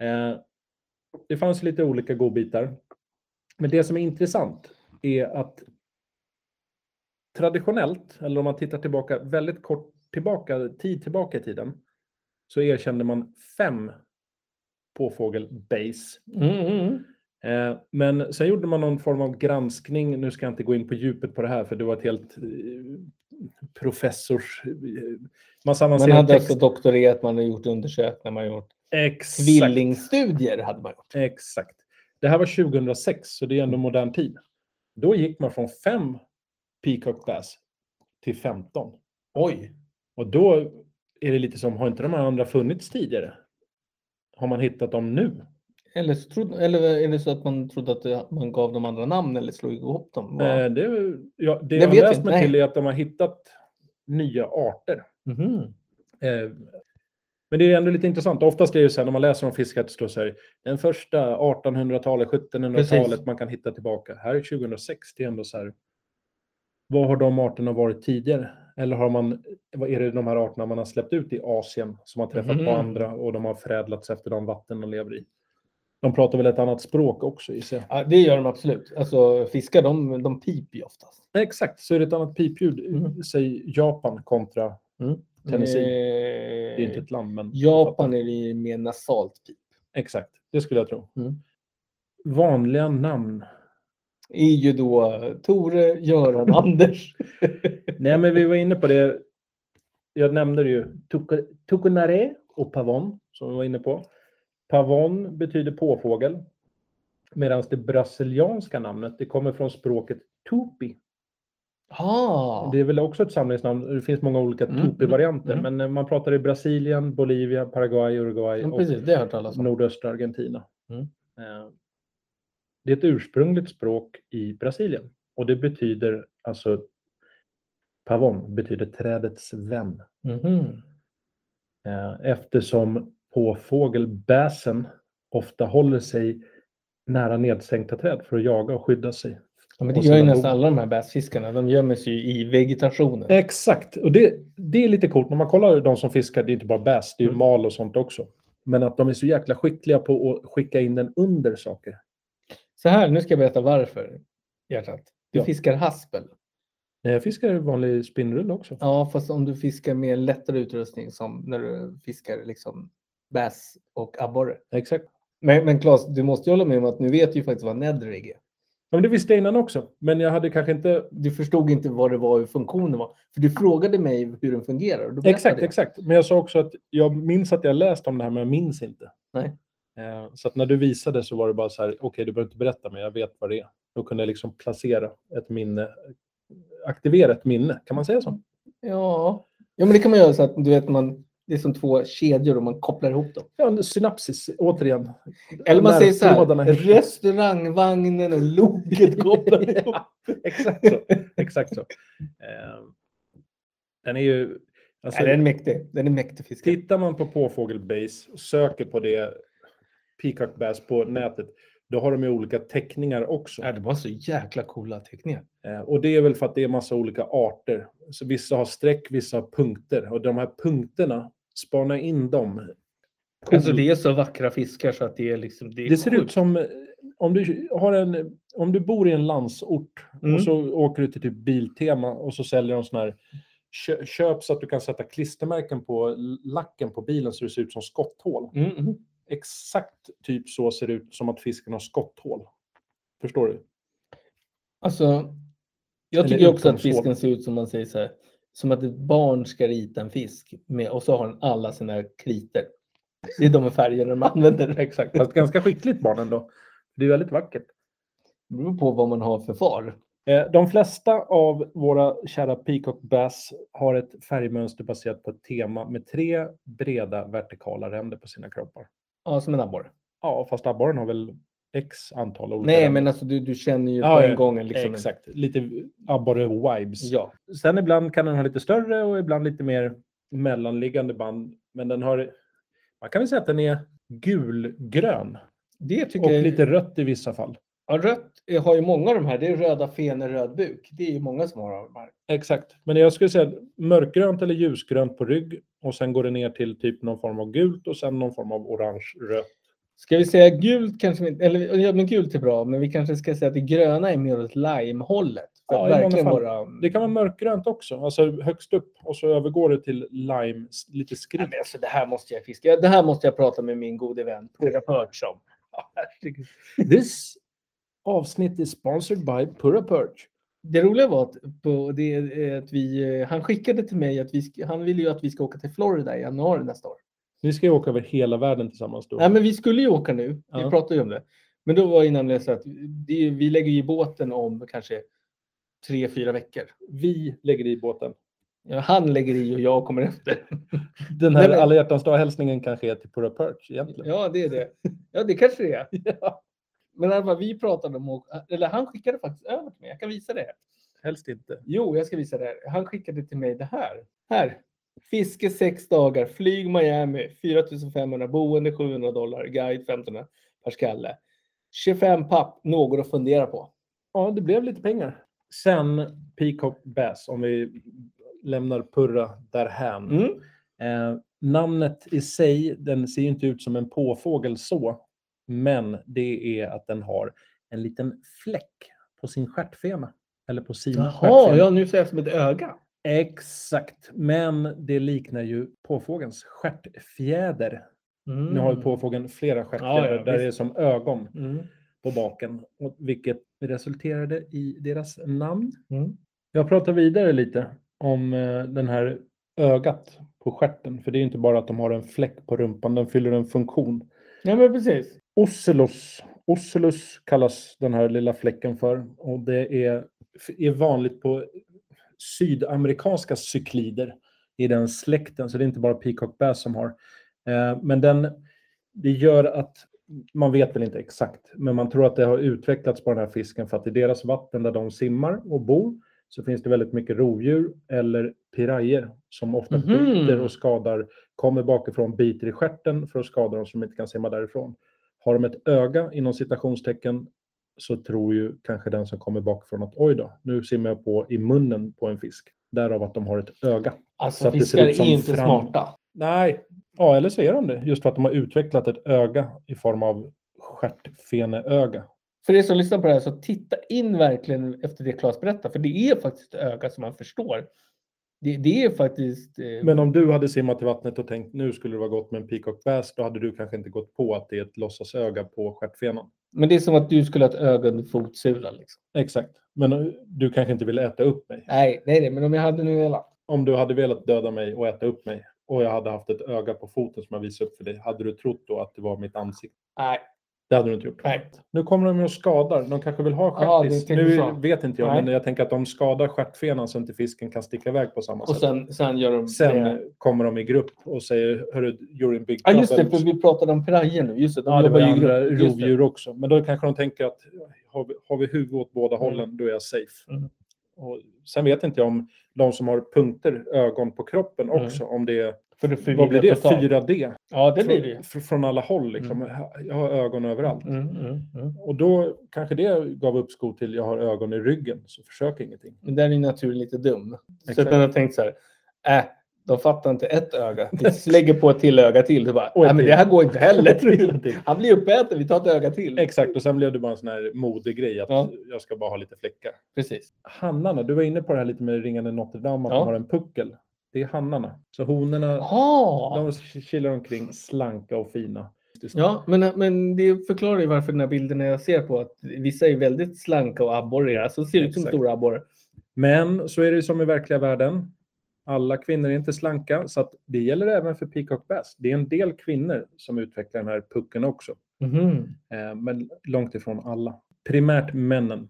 Eh, det fanns lite olika godbitar. Men det som är intressant är att traditionellt, eller om man tittar tillbaka väldigt kort tillbaka, tid tillbaka i tiden, så erkände man fem påfågel base. Mm, mm, mm. Eh, Men sen gjorde man någon form av granskning. Nu ska jag inte gå in på djupet på det här, för det var ett helt eh, professors... eh, Man Man sammanställde hade text- alltså doktorerat, man hade gjort undersökningar, man hade gjort Exakt. tvillingstudier. Hade man gjort. Exakt. Det här var 2006, så det är ändå Mm. modern tid. Då gick man från fem Peacock Bass till 15. Oj! Och då är det lite som, har inte de här andra funnits tidigare? Har man hittat dem nu? Eller, så trodde, eller är det så att man trodde att det- man gav dem andra namn eller slog ihop dem? Vad- Eh, Det, ja, det Det jag har vet vi läst inte, mig till nej. är att de har hittat nya arter. Mhm. Eh, Men det är ändå lite intressant. Oftast är det ju så här, när man läser om fiskar, det står så här, den första 1800-talet, 1700-talet Precis. man kan hitta tillbaka. Här är 2006, det är ändå så här, vad har de arterna varit tidigare? Eller har man, vad är det de här arterna man har släppt ut i Asien som har träffat på Mhm. andra och de har förädlats efter de vatten de lever i? De pratar väl ett annat språk också i sig. Ja, det gör de absolut. Alltså, fiskar de, de piper ju oftast. Exakt, så är det ett annat pipljud. Mhm. Säg Japan kontra, mm, Tennessee. Eh, det är inte ett land, men... Japan är det ju mer nasalt pip. Exakt, det skulle jag tro. Mm. Vanliga namn. är ju då eh, Tore, *laughs* Göran, Anders. Nej, men vi var inne på det. Jag nämnde det ju. Tuku- Tucunare och pavon, som vi var inne på. Pavon betyder påfågel. Medan det brasilianska namnet, det kommer från språket tupi. Ah, Det är väl också ett samlingsnamn. Det finns många olika Mm, tupi-varianter. mm, Men eh, man pratar i Brasilien, Bolivia, Paraguay, Uruguay ja, och precis, det har jag hört Alltså. talas om. nordöstra Argentina. Mm. Eh, Det är ett ursprungligt språk i Brasilien och det betyder alltså pavon betyder trädets vän Mhm. Eh, eftersom påfågelbäsen ofta håller sig nära nedsänkta träd för att jaga och skydda sig. ja, men Och det gör ju sina bon. nästan alla de här bäsfiskarna. De gömmer sig ju i vegetationen. Exakt, och det, det är lite coolt. När man kollar de som fiskar, det är inte bara bäs, det är ju Mm. mal och sånt också. Men att de är så jäkla skickliga på att skicka in den under saker. Så här, nu ska jag berätta varför. Hjärtat. Du Ja. fiskar haspel. Eh, Fiskar vanlig spinnrulle också. Ja, fast om du fiskar med en lättare utrustning som när du fiskar liksom bass och abborre. Exakt. Men, men Claes, du måste ju hålla med om att nu vet du ju faktiskt vad nedrig är. Ja, men det visste jag innan också, men jag hade kanske inte... Du förstod inte vad det var och hur funktionen var. För du frågade mig hur den fungerar. Och då berättade Exakt, jag. exakt. Men jag sa också att jag minns att jag läst om det här, men jag minns inte. Nej. Eh, Så att när du visade så var det bara så här, okej, du behöver inte berätta, men jag vet vad det är. Då kunde jag liksom placera ett minne, aktivera ett minne, kan man säga så? Ja. ja, men det kan man göra så att du vet, man, det är som två kedjor och man kopplar ihop dem. Ja, en synapsis, återigen. Eller man säger så Nervtrådarna här, hittas. *laughs* restaurangvagnen och loket kopplar *laughs* ihop. Exakt så. Exakt så. Eh, Den är ju... Alltså, Nej, den är mäktig. Den är mäktig fisk. Tittar man på påfågelbase och söker på det peacock bass på nätet, då har de ju olika teckningar också. Ja, det var så jäkla coola teckningar. Eh, Och det är väl för att det är massa olika arter. Så vissa har streck, vissa har punkter. Och de här punkterna, spana in dem. Alltså det är så vackra fiskar så att det är liksom... Det, är Det ser sjukt. ut som eh, om du, har en, om du bor i en landsort Mm. och så åker du till typ Biltema och så säljer de sån här kö- köp så att du kan sätta klistermärken på lacken på bilen så det ser ut som skotthål. Mm, mm. Exakt typ så ser det ut som att fisken har skotthål. Förstår du? Alltså, jag Eller tycker också att utomsål. fisken ser ut som man säger så här, som att ett barn ska rita en fisk med, och så har den alla sina kriter. Det är de färgerna man använder. *laughs* Exakt. Fast ganska skickligt barn ändå. Det är väldigt vackert. Det beror på vad man har för far. Eh, De flesta av våra kära Peacock Bass har ett färgmönster baserat på ett tema med tre breda vertikala ränder på sina kroppar. Ja, som en abborre. Ja, fast abborren har väl x antal olika Nej, ränder. men alltså du, du känner ju Ja, på ja. en gång. Liksom, Exakt, lite abborre-vibes. Ja. Sen ibland kan den ha lite större och ibland lite mer mellanliggande band. Men den har, man kan väl säga att den är gulgrön Det tycker och jag. lite rött i vissa fall. Ja, rött är- har ju många av de här. Det är röda fenor, röd buk. Det är ju många som har av de här. Exakt, men jag skulle säga mörkgrönt eller ljusgrönt på rygg och sen går det ner till typ någon form av gult och sen någon form av orange, rött. Ska vi säga gult kanske vi inte, eller ja, men gult är bra, men vi kanske ska säga att det gröna är mer åt lime-hållet. För Ja, att i många verkligen fall. vara... Det kan vara mörkgrönt också, alltså högst upp och så övergår det till lime, s- lite Nej, skritt. men alltså, det här måste jag fiska. Det här måste jag prata med min gode vän Purra Perch om. This avsnitt is sponsored by Pura Perch. Det roliga var att, på det, är att vi, eh, han skickade till mig att vi, sk- han ville ju att vi ska åka till Florida i januari nästa år. Ni ska ju åka över hela världen tillsammans då. Nej, men vi skulle ju åka nu. Vi Ja. pratade ju om det. Men då var ju nämligen så att det, är- vi lägger ju i båten om kanske tre, fyra veckor. Vi lägger i båten. Ja, Han lägger i och jag kommer efter. *laughs* Den här Nej, men- alla hjärtans dag-hälsningen kanske är till Pura Perch egentligen. Ja, det är det. Ja, det kanske det är. *laughs* Men i alla fall, vi pratade om, att- eller han skickade faktiskt över till mig. Jag kan visa det. här. Helst inte. Jo, jag ska visa det här. Han skickade till mig det här. Här. Fiske sex dagar, flyg Miami, 4500, boende 700 dollar, guide 1500 per skalle. 25 papp, något att fundera på. Ja, det blev lite pengar. Sen Peacock Bass, om vi lämnar Purra därhän. Mm. Eh, namnet i sig, den ser ju inte ut som en påfågel så, men det är att den har en liten fläck på sin stjärtfena. Eller på sin Jaha, stjärtfena. ja, nu ser jag som ett öga. Exakt, men det liknar ju påfågens stjärtfjäder. Mm. Nu har ju påfågeln flera stjärtfjädrar Ja, ja, där det är visst. som ögon Mm. på baken, och vilket resulterade i deras namn. Mm. Jag pratar vidare lite om eh, den här ögat på stjärten, för det är ju inte bara att de har en fläck på rumpan, den fyller en funktion. Ja, men precis. Ocelus, ocelus kallas den här lilla fläcken för och det är, är vanligt på sydamerikanska cyklider i den släkten, så det är inte bara peacock bass som har. Eh, Men den, det gör att man vet väl inte exakt, men man tror att det har utvecklats på den här fisken för att i deras vatten där de simmar och bor så finns det väldigt mycket rovdjur eller pirajer som ofta Mhm. biter och skadar, kommer bakifrån, biter i stjärten för att skada dem som inte kan simma därifrån. Har de ett öga inom citationstecken så tror ju kanske den som kommer bakifrån att oj då, nu simmar jag på i munnen på en fisk. Därav att de har ett öga. Så Alltså, att det ser fiskar ut som är inte fram- smarta. Nej, ja, eller så är de det. Just för att de har utvecklat ett öga i form av stjärtfeneöga. För er som lyssnar på det här, så titta in verkligen efter det Claes berättar. För det är faktiskt ett öga som man förstår. Det, det är faktiskt... eh, Men om du hade simmat i vattnet och tänkt nu skulle det vara gott med en peacock bass, då hade du kanske inte gått på att det är ett låtsasöga på stjärtfenan. Men det är som att du skulle ha ett öga under fotsula. Liksom. Exakt, men eh, du kanske inte ville äta upp mig. Nej, nej, nej, men om jag hade nu velat. Om du hade velat döda mig och äta upp mig och jag hade haft ett öga på foten som jag visade upp för dig, hade du trott då att det var mitt ansikte? Nej, Det hade du inte gjort. nej. Nu kommer de ju och skadar. De kanske vill ha Ja, det stjärtis. tänker nu jag. vet inte jag, Nej. men jag tänker att de skadar stjärtfenan så inte fisken kan sticka iväg på samma Och sätt. sen, sen gör de... Alltså, Sen det. kommer de i grupp och säger, hörru, you're in big Ja, just det, trouble." för vi pratade om pirajer nu. Just det, de Ja, det var jobbar ju ju i andra grupp. Just det. Mm. rovdjur också. Men då kanske de tänker att har vi, har vi huvud åt båda hållen, då är jag safe. Mm. Och sen vet inte jag om de som har punkter, ögon på kroppen Mm. också, om det är, För det vad blir det, totalt. 4D? Ja, det Från- blir det ju. fr- Från alla håll liksom. Jag har ögon överallt. Mm, mm, mm. Och då kanske det gav uppskov till jag har ögon i ryggen, så försök ingenting. Men där är ju naturen lite dum. Så Exakt. att man har tänkt så här, äh, de fattar inte ett öga. Vi lägger på ett till öga till. Så bara, Och nej, ett men till. det här går inte *laughs* heller. Till. Han blir uppäten, vi tar ett öga till. *laughs* Exakt, och sen blev det bara en sån här modegrej att Ja. jag ska bara ha lite fläckar. Precis. Hannarna, du var inne på det här lite med ringande Notre Dame, att Ja. de har en puckel. Det är hannarna. Så honorna, Jaha! de chillar omkring slanka och fina. Ja, men, men det förklarar ju varför den här bilden jag ser på att vissa är väldigt slanka och abborriga. Så ser det ut som Exakt. stora abborre. Men så är det ju som i verkliga världen. Alla kvinnor är inte slanka, så att det gäller även för Peacock Bass. Det är en del kvinnor som utvecklar den här pucken också. Mhm. Eh, men långt ifrån alla. Primärt männen.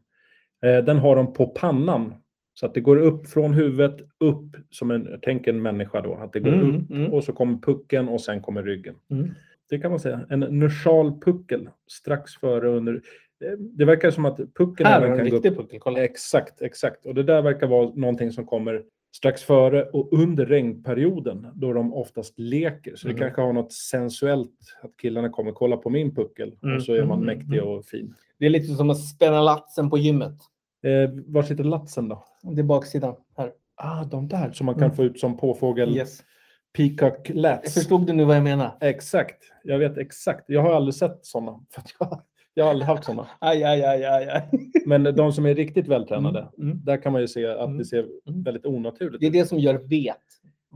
Eh, den har de på pannan. Så att det går upp från huvudet, upp som en, tänk en människa då, att det går Mm, upp mm. och så kommer pucken och sen kommer ryggen. Mm. Det kan man säga. En nursal puckel strax före och under. Eh, Det verkar som att pucken Här även har du en kan gå upp. riktig puckel. Kolla. Exakt, exakt. Och det där verkar vara någonting som kommer strax före och under regnperioden då de oftast leker. Så Mhm. det kanske har något sensuellt att killarna kommer kolla på min puckel Mm, och så är man mm, mäktig mm. och fin. Det är lite som att spänna latsen på gymmet. Eh, var sitter latsen då? Det är baksidan. Här. Ah, de där som man kan Mm. få ut som påfågel. Yes. Peacock Jag lats. Förstod du nu vad jag menar? Exakt. Jag vet exakt. Jag har aldrig sett sådana. *laughs* För att jag, jag har aldrig haft sådana. Aj, aj, aj, aj, aj. Men de som är riktigt vältränade, Mm. Mm. där kan man ju se att Mm. det ser Mm. väldigt onaturligt Det är ut. det som gör vet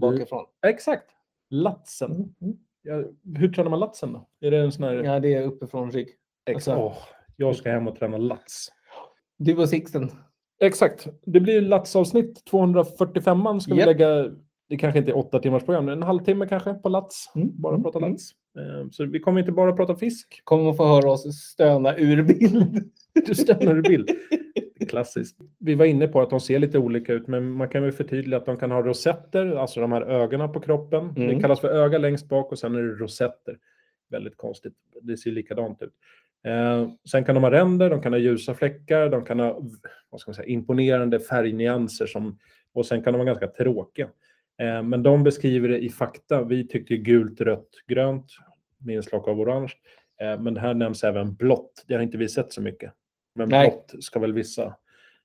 bakifrån. Exakt. Latsen. Mm. Ja, hur tränar man latsen då? Är det en sån här... Ja, det är uppifrån rygg. Exakt. Åh, jag ska hem och träna lats. Du och Sixten. Exakt. Det blir latsavsnitt 245 ska Japp. vi lägga. Det kanske inte är åtta timmars program, men en halvtimme kanske på lats. Mm, Bara mm, prata mm. lats. Eh, Så vi kommer inte bara prata fisk. Kommer att få höra oss stöna ur bild. *laughs* Du stämmer i bild. Klassiskt. Vi var inne på att de ser lite olika ut, men man kan väl förtydliga att de kan ha rosetter, alltså de här ögonen på kroppen. Mm. Det kallas för öga längst bak och sen är det rosetter. Väldigt konstigt. Det ser likadant ut. Eh, sen kan de ha ränder, de kan ha ljusa fläckar, de kan ha vad ska man säga, imponerande färgnyanser som, och sen kan de vara ganska tråkiga. Eh, men de beskriver det i fakta. Vi tyckte ju gult, rött, grönt med inslag av orange. Eh, men här nämns även blått. Det har inte vi sett så mycket. Men Nej. blått ska väl vissa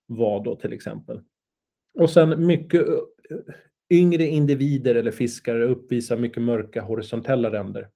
vara då till exempel. Och sen mycket eh, yngre individer eller fiskare uppvisar mycket mörka horisontella ränder.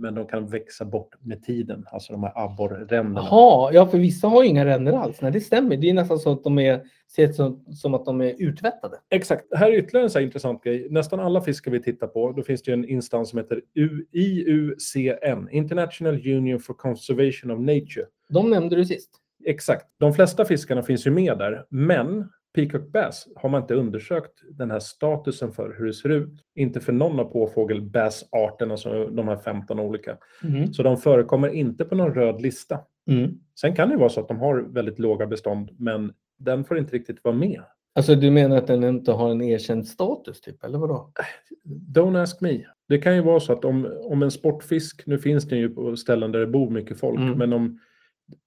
Men de kan växa bort med tiden, alltså de här abborrränderna. *laughs* Jaha, ja för vissa har ju inga ränder alls. Nej, det stämmer. Det är nästan så att de är, ser ut som, som att de är utvättade. Exakt. Här är ytterligare en så här intressant grej. Nästan alla fiskar vi tittar på, då finns det ju en instans som heter U- IUCN, International Union for Conservation of Nature. De nämnde du sist. Exakt. De flesta fiskarna finns ju med där, men Peacock Bass har man inte undersökt den här statusen för, hur det ser ut. Inte för någon av påfågelbassarterna, alltså de här 15 olika. Så de förekommer inte på någon röd lista. Mm. Sen kan det ju vara så att de har väldigt låga bestånd, men den får inte riktigt vara med. Alltså du menar att den inte har en erkänd status typ, eller vadå? Don't ask me. Det kan ju vara så att om, om en sportfisk, nu finns den ju på ställen där det bor mycket folk, Mm. men om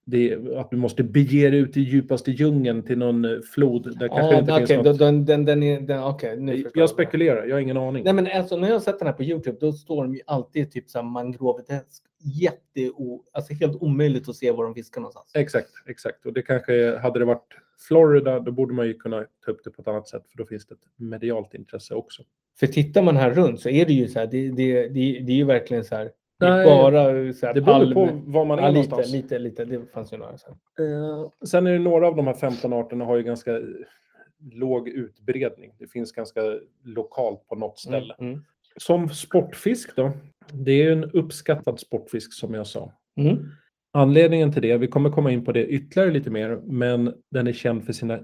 det, att du måste bege dig ut i djupaste djungeln till någon eh, flod där kanske det inte okej, finns något. den, den, den är... Den, okej, nu förstår jag spekulerar, jag har ingen aning. Nej men alltså när jag har sett den här på Youtube då står de ju alltid typ så här mangroveträsk. Jätte... Alltså helt omöjligt att se var de fiskar någonstans. Exakt, exakt. Och det kanske, hade det varit Florida, då borde man ju kunna ta upp det på ett annat sätt, för då finns det ett medialt intresse också. För tittar man här runt så är det ju så här, det, det, det, det är ju verkligen så här. Det är Nej, bara så här Det beror på palm- var man är ja, lite, någonstans. lite, lite. Det fanns ju några. Så här. Eh, sen är det några av de här 15 arterna har ju ganska eh, låg utbredning. Det finns ganska lokalt på något ställe. Mm. Som sportfisk då, det är ju en uppskattad sportfisk som jag sa. Mm. Anledningen till det, vi kommer komma in på det ytterligare lite mer, men den är känd för sina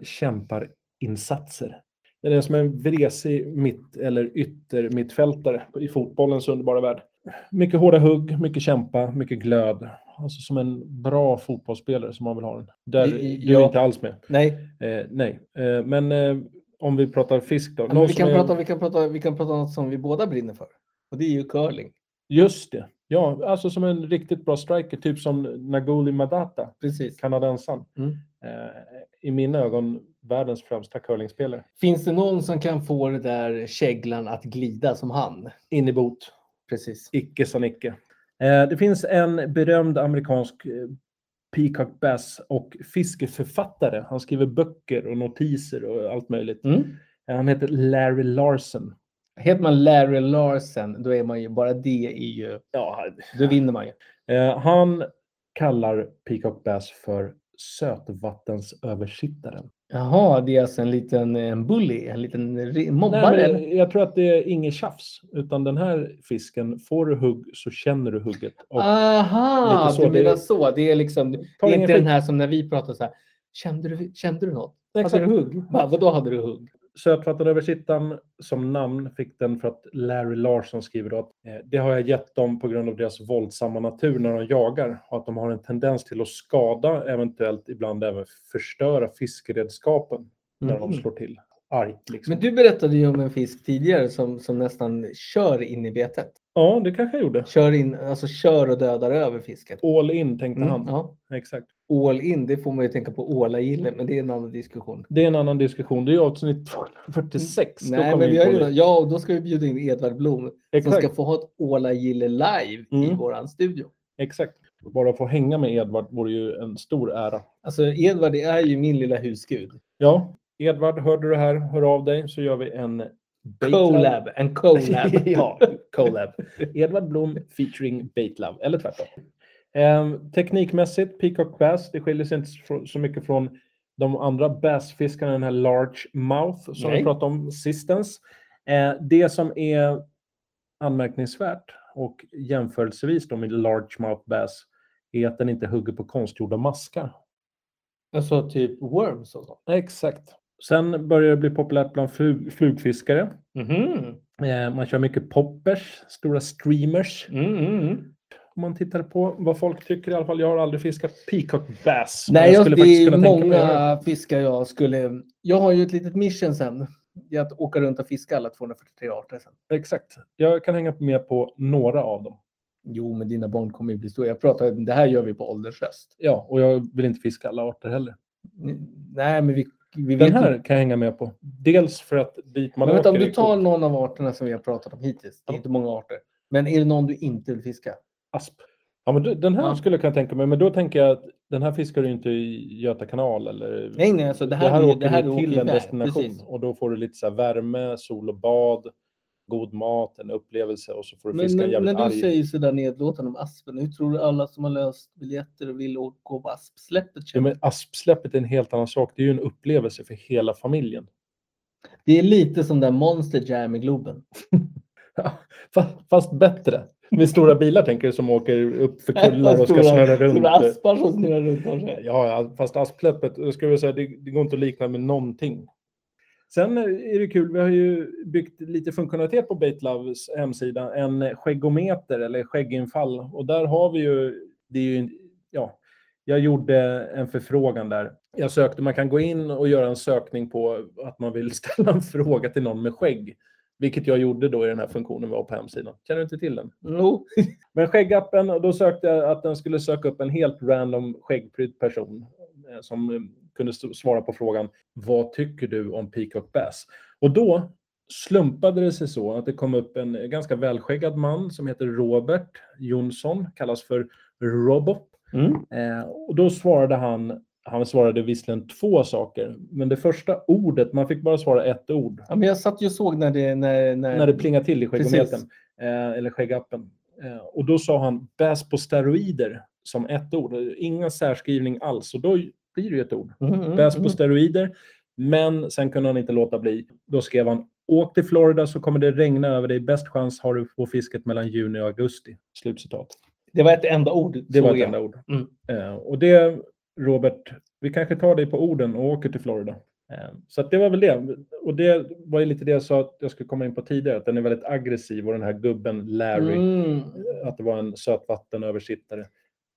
kämparinsatser. Den är som en vresig mitt eller ytter mittfältare i fotbollens underbara värld. Mycket hårda hugg, mycket kämpa, mycket glöd. Alltså som en bra fotbollsspelare som man vill ha den. Där I- i- du är ja. inte alls med. Nej, Eh, nej, eh, men eh, om vi pratar fisk då. men Någon vi, som kan är- prata, vi, kan prata, vi kan prata om något som vi båda brinner för. Och det är ju curling. Just det. Ja, alltså som en riktigt bra striker, typ som Nagoli Madata, Precis. kanadensaren. Mm. Eh, I mina ögon världens främsta curlingspelare. Finns det någon som kan få det där käglan att glida som han? In i bot. Precis. Icke sa Nicke. Eh, det finns en berömd amerikansk eh, Peacock Bass och fiskeförfattare. Han skriver böcker och notiser och allt möjligt. Mm. Eh, Han heter Larry Larsen. Heter man Larry Larsen, då är man ju, bara det är ju, Ja, då vinner man ju. eh, han kallar Peacock Bass för sötvattensöversittaren. Jaha, det är alltså en liten eh, bully, en liten re- mobbare. Nej, eller? men jag tror att det är inget tjafs, utan den här fisken, får du hugg så känner du hugget. Och Aha, lite så, du menar det- så. Det är liksom, det Ta är ingen inte den skit. här som när vi pratar så här. Kände du, kände du något? Exakt. Hade du hugg? Bara, vadå hade du hugg? Sötvattenöversittaren som namn fick den för att Larry Larsson skriver då att eh, det har jag gett dem på grund av deras våldsamma natur när de jagar och att de har en tendens till att skada, eventuellt ibland även förstöra fiskeredskapen när de Mhm. slår till argt. Liksom. Men du berättade ju om en fisk tidigare som, som nästan kör in i betet. Ja, det kanske jag gjorde. Kör in, alltså kör och dödar över fisket. All in tänkte Mm, han. ja. Exakt. All in, det får man ju tänka på ålagille, men det är en annan diskussion. Det är en annan diskussion. Det är avsnitt 46. Då Nej, kom men vi vi in har ju, på det. ja, och då ska vi bjuda in Edvard Blom som Exakt. ska få ha ett ålagille live i Mm. våran studio. Exakt. Bara få hänga med Edvard vore ju en stor ära. Alltså Edvard, det är ju min lilla husgud. Ja, Edvard, hörde du det här? Hör av dig så gör vi en Baitlab. Colab, en colab. *laughs* ja, collab. *laughs* Edvard Blom featuring Baitlab, eller tvärtom. Ehm, teknikmässigt, Peacock Bass, det skiljer sig inte så- så mycket från de andra bassfiskarna, den här large mouth som Nej. vi pratade om sistens. Eh, det som är anmärkningsvärt och jämförelsevis då med large mouth bass är att den inte hugger på konstgjorda maskar. Alltså typ worms och sånt. Exakt. Sen börjar det bli populärt bland flug, flugfiskare. Mhm. Eh, man kör mycket poppers, stora streamers. Mm, mm, mm. Om man tittar på vad folk tycker i alla fall. Jag har aldrig fiskat peacock bass. men Nej, jag skulle det faktiskt är kunna tänka mig att göra många fiskar jag skulle... Jag har ju ett litet mission sen. Det är att åka runt och fiska alla 243 arter sen. det. Exakt. Jag kan hänga med på några av dem. Jo, men dina barn kommer ju bli stora. Jag pratar, det här gör vi på ålderns höst. Ja, och jag vill inte fiska alla arter heller. N- Nej, men vi, vi vet Den här inte. kan jag hänga med på. Dels för att dit man Men vänta, om åker du är tar coolt. någon av arterna som vi har pratat om hittills. Det är Ja. inte många arter. Men är det någon du inte vill fiska? Asp. Ja, men du- den här Ja. skulle jag kunna tänka mig. Men då tänker jag att den här fiskar du inte i Göta kanal eller Nej, nej, alltså det här, är ju- åker det här du åker till ju en där. destination Precis. och då får du lite så här värme, sol och bad, god mat, en upplevelse och så får du Men, fiska men en jävligt när du arg. säger sådär nedlåtande om Aspen, hur tror du alla som har löst biljetter och vill åka på Aspsläppet Ja, känner? men aspsläppet är en helt annan sak. Det är ju en upplevelse för hela familjen. Det är lite som där Monster Jam i *laughs* Globen. Fa- Fast bättre. Med stora bilar tänker du som åker upp för kullar och Stora- ska snurra runt. Stora aspar som snurrar runt om sig. Ja, ja, fast aspsläppet, jag skulle vilja säga, det, det går inte att likna med någonting. Sen är det kul, vi har ju byggt lite funktionalitet på Baitlovs hemsida, en skäggometer eller skägginfall. Och där har vi ju, det är ju, en- ja, jag gjorde en förfrågan där. Jag sökte, man kan gå in och göra en sökning på att man vill *laughs* ställa en fråga till någon med skägg. Vilket jag gjorde då i den här funktionen vi har på hemsidan. Känner du inte till den? Jo, Men skäggappen, och då sökte jag att den skulle söka upp en helt random skäggprydd person eh, som eh, kunde s- svara på frågan Vad tycker du om Peacock Bass? Och då slumpade det sig så att det kom upp en eh, ganska välskäggad man som heter Robert Jonsson, kallas för Robop. Mm. Eh, och då svarade han, han svarade visserligen två saker, men det första ordet, man fick bara svara ett ord ja, men jag satt ju och såg när det... När, när... när det plingar till i skäggometern. Precis. Eh, eller skäggappen. Eh, och då sa han bäs på steroider som ett ord. Ingen särskrivning alls. Och då blir det ju ett ord. Mm, mm, Bäs på mm. steroider. Men sen kunde han inte låta bli. Då skrev han åk till Florida så kommer det regna över dig. Bäst chans har du på fisket mellan juni och augusti. Slutcitat. Det var ett enda ord. Det var såg ett jag. enda ord. Mm. Eh, och det, Robert, vi kanske tar dig på orden och åker till Florida. Eh, så att det var väl det. Och det var ju lite det jag sa att jag skulle komma in på tidigare, att den är väldigt aggressiv och den här gubben Larry, Mm. att det var en sötvattenöversittare.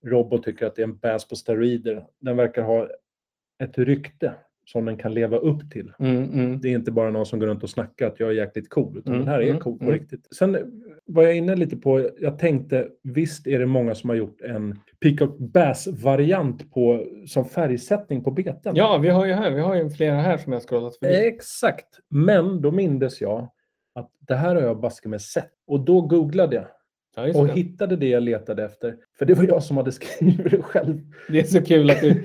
Robbo tycker att det är en bass på steroider. Den verkar ha ett rykte som den kan leva upp till. Mm, mm. Det är inte bara någon som går runt och snackar att jag är jäkligt cool, utan Mm, den här är mm, cool på mm. riktigt. Sen var jag inne lite på, jag tänkte visst är det många som har gjort en Peacock Bass-variant på, som färgsättning på beten. Ja, vi har ju här, vi har ju flera här som jag scrollat förbi. Exakt, men då mindes jag att det här har jag baske med sett. Och då googlade jag Ja, just och det. hittade det jag letade efter. För det var jag som hade *laughs* skrivit det själv. det är så kul att *laughs* du...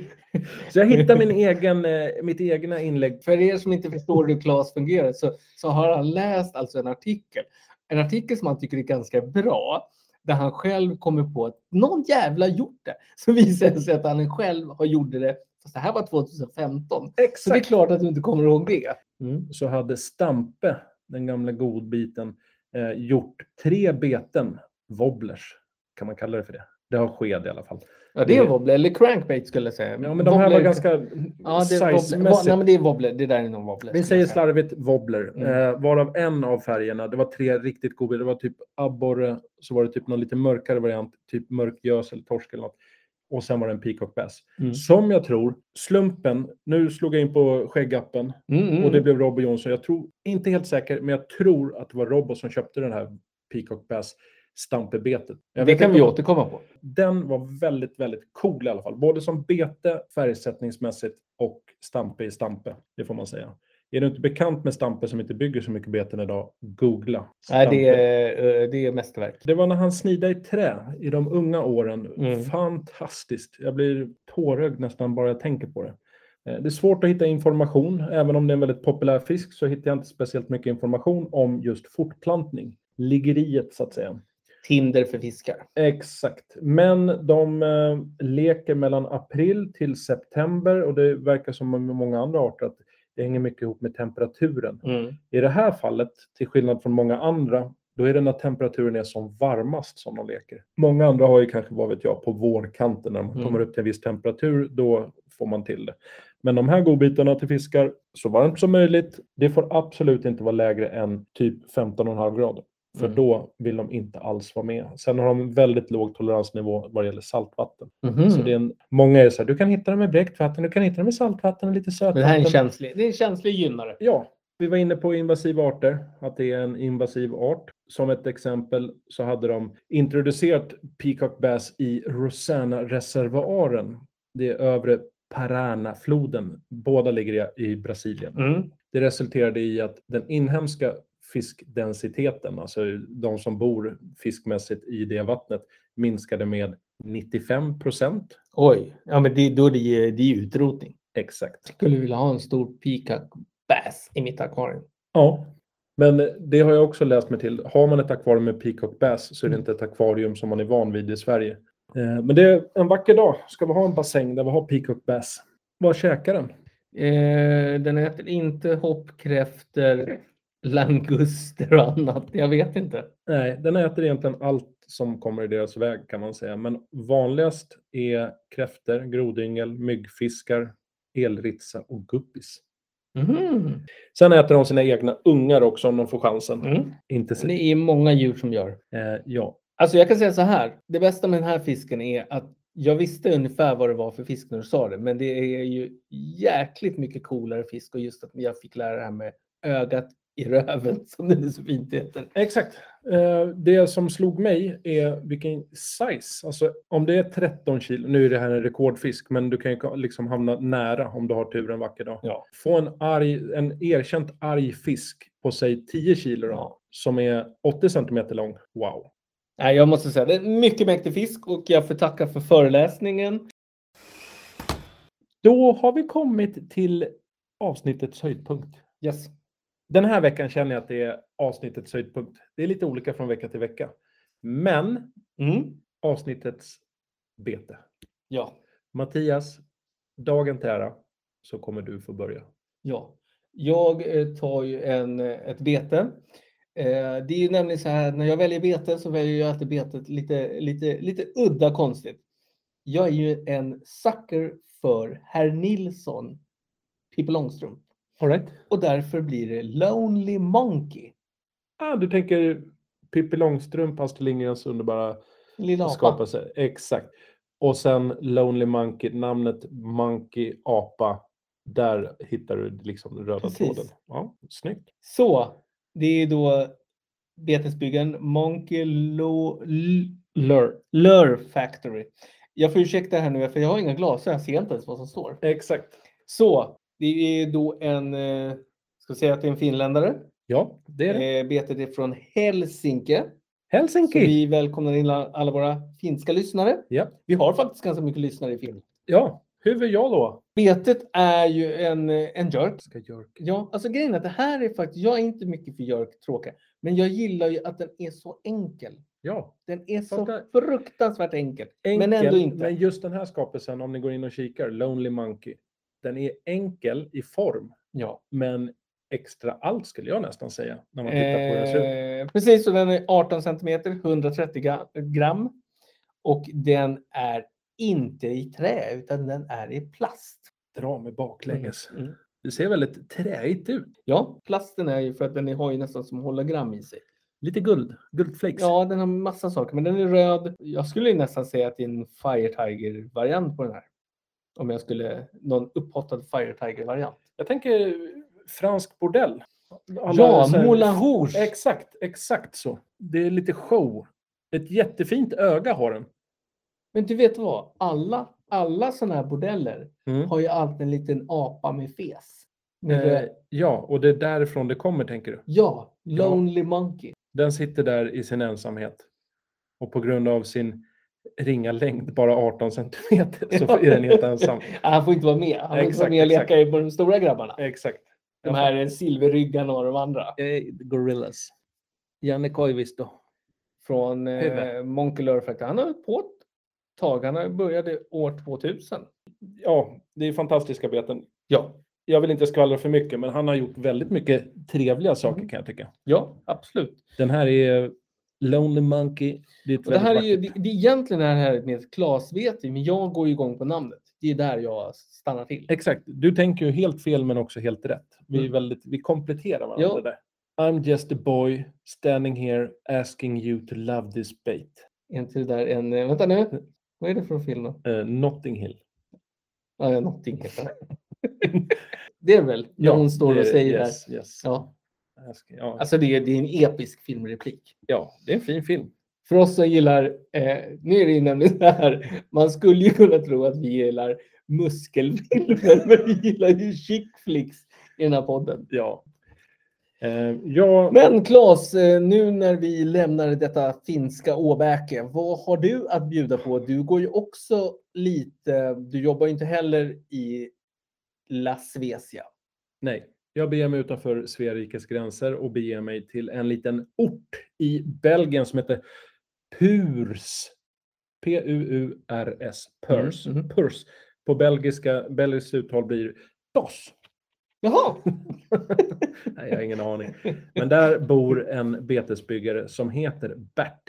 Så jag *laughs* hittade min egen, eh, mitt egna inlägg. För er som inte förstår hur Claes fungerar så, så har han läst alltså en artikel. En artikel som han tycker är ganska bra. Där han själv kommer på att någon jävla gjort det. Så visar det sig att han själv har gjort det. Fast det här var 2015. Så det är Exakt. klart att du inte kommer ihåg det. Mm. Så hade Stampe, den gamla godbiten, eh, gjort tre beten wobblers. Kan man kalla det för det? Det har sked i alla fall. Ja, det är Det- en wobbler. Eller crankbait skulle jag säga. Ja, men de här var Wobbler- ganska Ja, det är wobbler. Wo- sizemässigt. Nej, men det är wobbler. Det där är nog wobbler. Vi säger slarvigt wobbler, Mm. eh, varav en av färgerna, det var tre riktigt goda, det var typ abborre, så var det typ någon lite mörkare variant, typ mörk gös eller torsk eller något. Och sen var det en peacock bass. Mm. Som jag tror, slumpen, nu slog jag in på skäggappen Mm, mm. och det blev Robbo Jonsson. Jag tror, inte helt säker, men jag tror att det var Robbo som köpte den här peacock bass stampebetet. Jag det vet kan inte vi om- återkomma på. Den var väldigt, väldigt cool i alla fall. Både som bete, färgsättningsmässigt och stampe i stampe. Det får man säga. Är du inte bekant med stampe som inte bygger så mycket beten idag, googla. Nej, det Stampe. är, eh, det är mästerverk. det var när han snidade i trä i de unga åren. Mm. Fantastiskt. Jag blir tårögd nästan bara jag tänker på det. Eh, Det är svårt att hitta information. Även om det är en väldigt populär fisk så hittar jag inte speciellt mycket information om just fortplantning. Liggeriet så att säga. Tinder för fiskar. Exakt. Men de eh, leker mellan april till september och det verkar som med många andra arter att det hänger mycket ihop med temperaturen. I det här fallet, till skillnad från många andra, då är det när temperaturen är som varmast som de leker. Många andra har ju kanske, vad vet jag, på vårkanten när man Mm. kommer upp till en viss temperatur, då får man till det. Men de här godbitarna till fiskar, så varmt som möjligt, det får absolut inte vara lägre än typ 15,5 grader. För Mm. då vill de inte alls vara med. Sen har de en väldigt låg toleransnivå vad det gäller saltvatten. Mhm. Så det är en, många är så här, du kan hitta dem med bläckt vatten, du kan hitta dem i saltvatten och lite Men det här är en sötvatten. känslig, det är en känslig gynnare. Ja, vi var inne på invasiva arter, att det är en invasiv art. Som ett exempel så hade de introducerat peacock bass i Rosanna-reservoaren. Det är övre Paraná-floden. Båda ligger i i Brasilien. Mm. Det resulterade i att den inhemska fiskdensiteten, alltså de som bor fiskmässigt i det vattnet, minskade med 95 procent. Oj, ja, men det, då är det, det är utrotning. Exakt. Jag skulle vilja ha en stor peacock bass i mitt akvarium. Ja, men det har jag också läst mig till. Har man ett akvarium med peacock bass så är det Mm. inte ett akvarium som man är van vid i Sverige. Eh, Men det är en vacker dag ska vi ha en bassäng där vi har peacock bass. Vad käkar den? Eh, den äter inte hoppkräftor, languster och annat. Jag vet inte. Nej, den äter egentligen allt som kommer i deras väg kan man säga. Men vanligast är kräftor, grodyngel, myggfiskar, elritsa och guppis. Mhm. Sen äter de sina egna ungar också om de får chansen. Mm. Inte sin... Det är många djur som gör. eh, ja. Alltså jag kan säga så här. Det bästa med den här fisken är att jag visste ungefär vad det var för fisk när du sa det. Men det är ju jäkligt mycket coolare fisk och just att jag fick lära det här med ögat i röven *laughs* som det så fint heter. Exakt. Eh, Det som slog mig är vilken size. Alltså om det är 13 kilo, nu är det här en rekordfisk, men du kan ju ka- liksom hamna nära om du har tur en vacker dag. Ja. Få en, arg, en erkänt arg fisk på sig 10 kilo då, Ja. som är 80 centimeter lång. Wow. Nej, jag måste säga det är en mycket mäktig fisk och jag får tacka för föreläsningen. Då har vi kommit till avsnittets höjdpunkt. Yes. Den här veckan känner jag att det är avsnittets höjdpunkt. Det är lite olika från vecka till vecka. Men Mm. avsnittets bete. Ja, Mattias, dagen till ära så kommer du få börja. ja. Jag eh, tar ju en, eh, ett bete. Eh, Det är ju nämligen så här att när jag väljer bete så väljer jag alltid betet lite, lite, lite udda konstigt. Jag är ju en sucker för herr Nilsson, Pippi Långstrump. All right. Och därför blir det Lonely Monkey. ah, du tänker Pippi Långstrump, Astrid Lindgrens underbara Lilla apan. skapelse. Exakt. Och sen Lonely Monkey, namnet Monkey Apa Där hittar du liksom den röda Precis. tråden. Ja, snyggt. Så, det är då betesbyggaren Monkey Lo- L- Lure, Lure Factory. Jag får ursäkta här nu för jag har inga glasögon, jag ser inte ens vad som står. Exakt. Så, det är då en, eh, ska vi säga att det är en finländare. Ja, det är det. Eh, Betet är från Helsinki. Så Helsinki. vi välkomnar in alla våra finska lyssnare. Ja. Vi har faktiskt ganska mycket lyssnare i Finland. Ja, hur är jag då? Betet är ju en, eh, en jerk. Ska jag... Ja, alltså grejen är att det här är faktiskt, jag är inte mycket för jerktråka, men jag gillar ju att den är så enkel. Ja, Den är så Fattar. fruktansvärt enkel. enkel. Men ändå inte. Men just den här skapelsen, om ni går in och kikar, Lonely Monkey. Den är enkel i form, Ja. men extra allt skulle jag nästan säga. När man tittar på hur den ser ut. Eh, precis, så den är 18 centimeter, 130 gra- gram. Och den är inte i trä, utan den är i plast. Dra mig baklänges. Mm. Det ser väldigt träigt ut. Ja, plasten är ju för att den har ju nästan som hologram i sig. Lite guld, guldflakes. Ja, den har massa saker, men den är röd. Jag skulle ju nästan säga att det är en Fire Tiger-variant på den här. Om jag skulle, någon upphottad Fire Tiger-variant. Jag tänker fransk bordell. Alla Ja, så här- Moulin Rouge! Exakt, exakt så. Det är lite show. Ett jättefint öga har den. Men du vet vad? Alla, alla sådana här bordeller har ju alltid en liten apa med fes. Med Eh, röd- ja, och det är därifrån det kommer, tänker du. Ja, Lonely *laughs* Monkey. Den sitter där i sin ensamhet. Och på grund av sin ringa längd, bara 18 centimeter, så är den *laughs* helt ensam. Ah, Han får inte vara med. Han får inte vara Exakt, med och exakt. leka på de stora grabbarna. *laughs* Exakt. De här silverryggarna och de andra. Gorillas. Janne Koivisto. Från eh, Huvud. Monkey Lure Factory. Han har hållit på ett tag. Han började år 2000. Ja, det är fantastiska beten. Ja, Jag vill inte skvallra för mycket, men han har gjort väldigt mycket trevliga saker Mm. kan jag tycka. ja absolut. Den här är Lonely Monkey. Det är ett Och det väldigt här är ju, vackert- det, det, egentligen är det här med ett klasvete, men jag går ju igång på namnet. Det är där jag stannar till. Exakt. Du tänker ju helt fel men också helt rätt. Vi, är Mm. väldigt, vi kompletterar varandra Ja. där. I'm just a boy standing here asking you to love this bait. Är inte det där en... eh, Vänta nu. Vad är det för film då? Eh, Notting Hill. Ja, ja, någonting heter *laughs* det. Det är väl när hon står det- och säger yes, där. Yes. Ja. Ja, Ja. alltså det, är- det är en episk filmreplik. ja, det är en fin film. För oss som gillar, eh, nu är det ju nämligen så här, man skulle ju kunna tro att vi gillar muskelfilmer, *laughs* men vi gillar ju chick flicks i den här podden. Ja. Eh, jag, Men Claes, eh, nu när vi lämnar detta finska Åbäke, vad har du att bjuda på? Du går ju också lite, du jobbar ju inte heller i La Svesia. Nej, jag beger mig utanför Sveriges gränser och beger mig till en liten ort i Belgien som heter Purs. P-U-U-R-S. Purs. Mhm, mhm. Purs. På belgiska, belgiskt uttal blir Bos. Jaha! Nej, jag har ingen aning. Men där bor en betesbyggare som heter Bert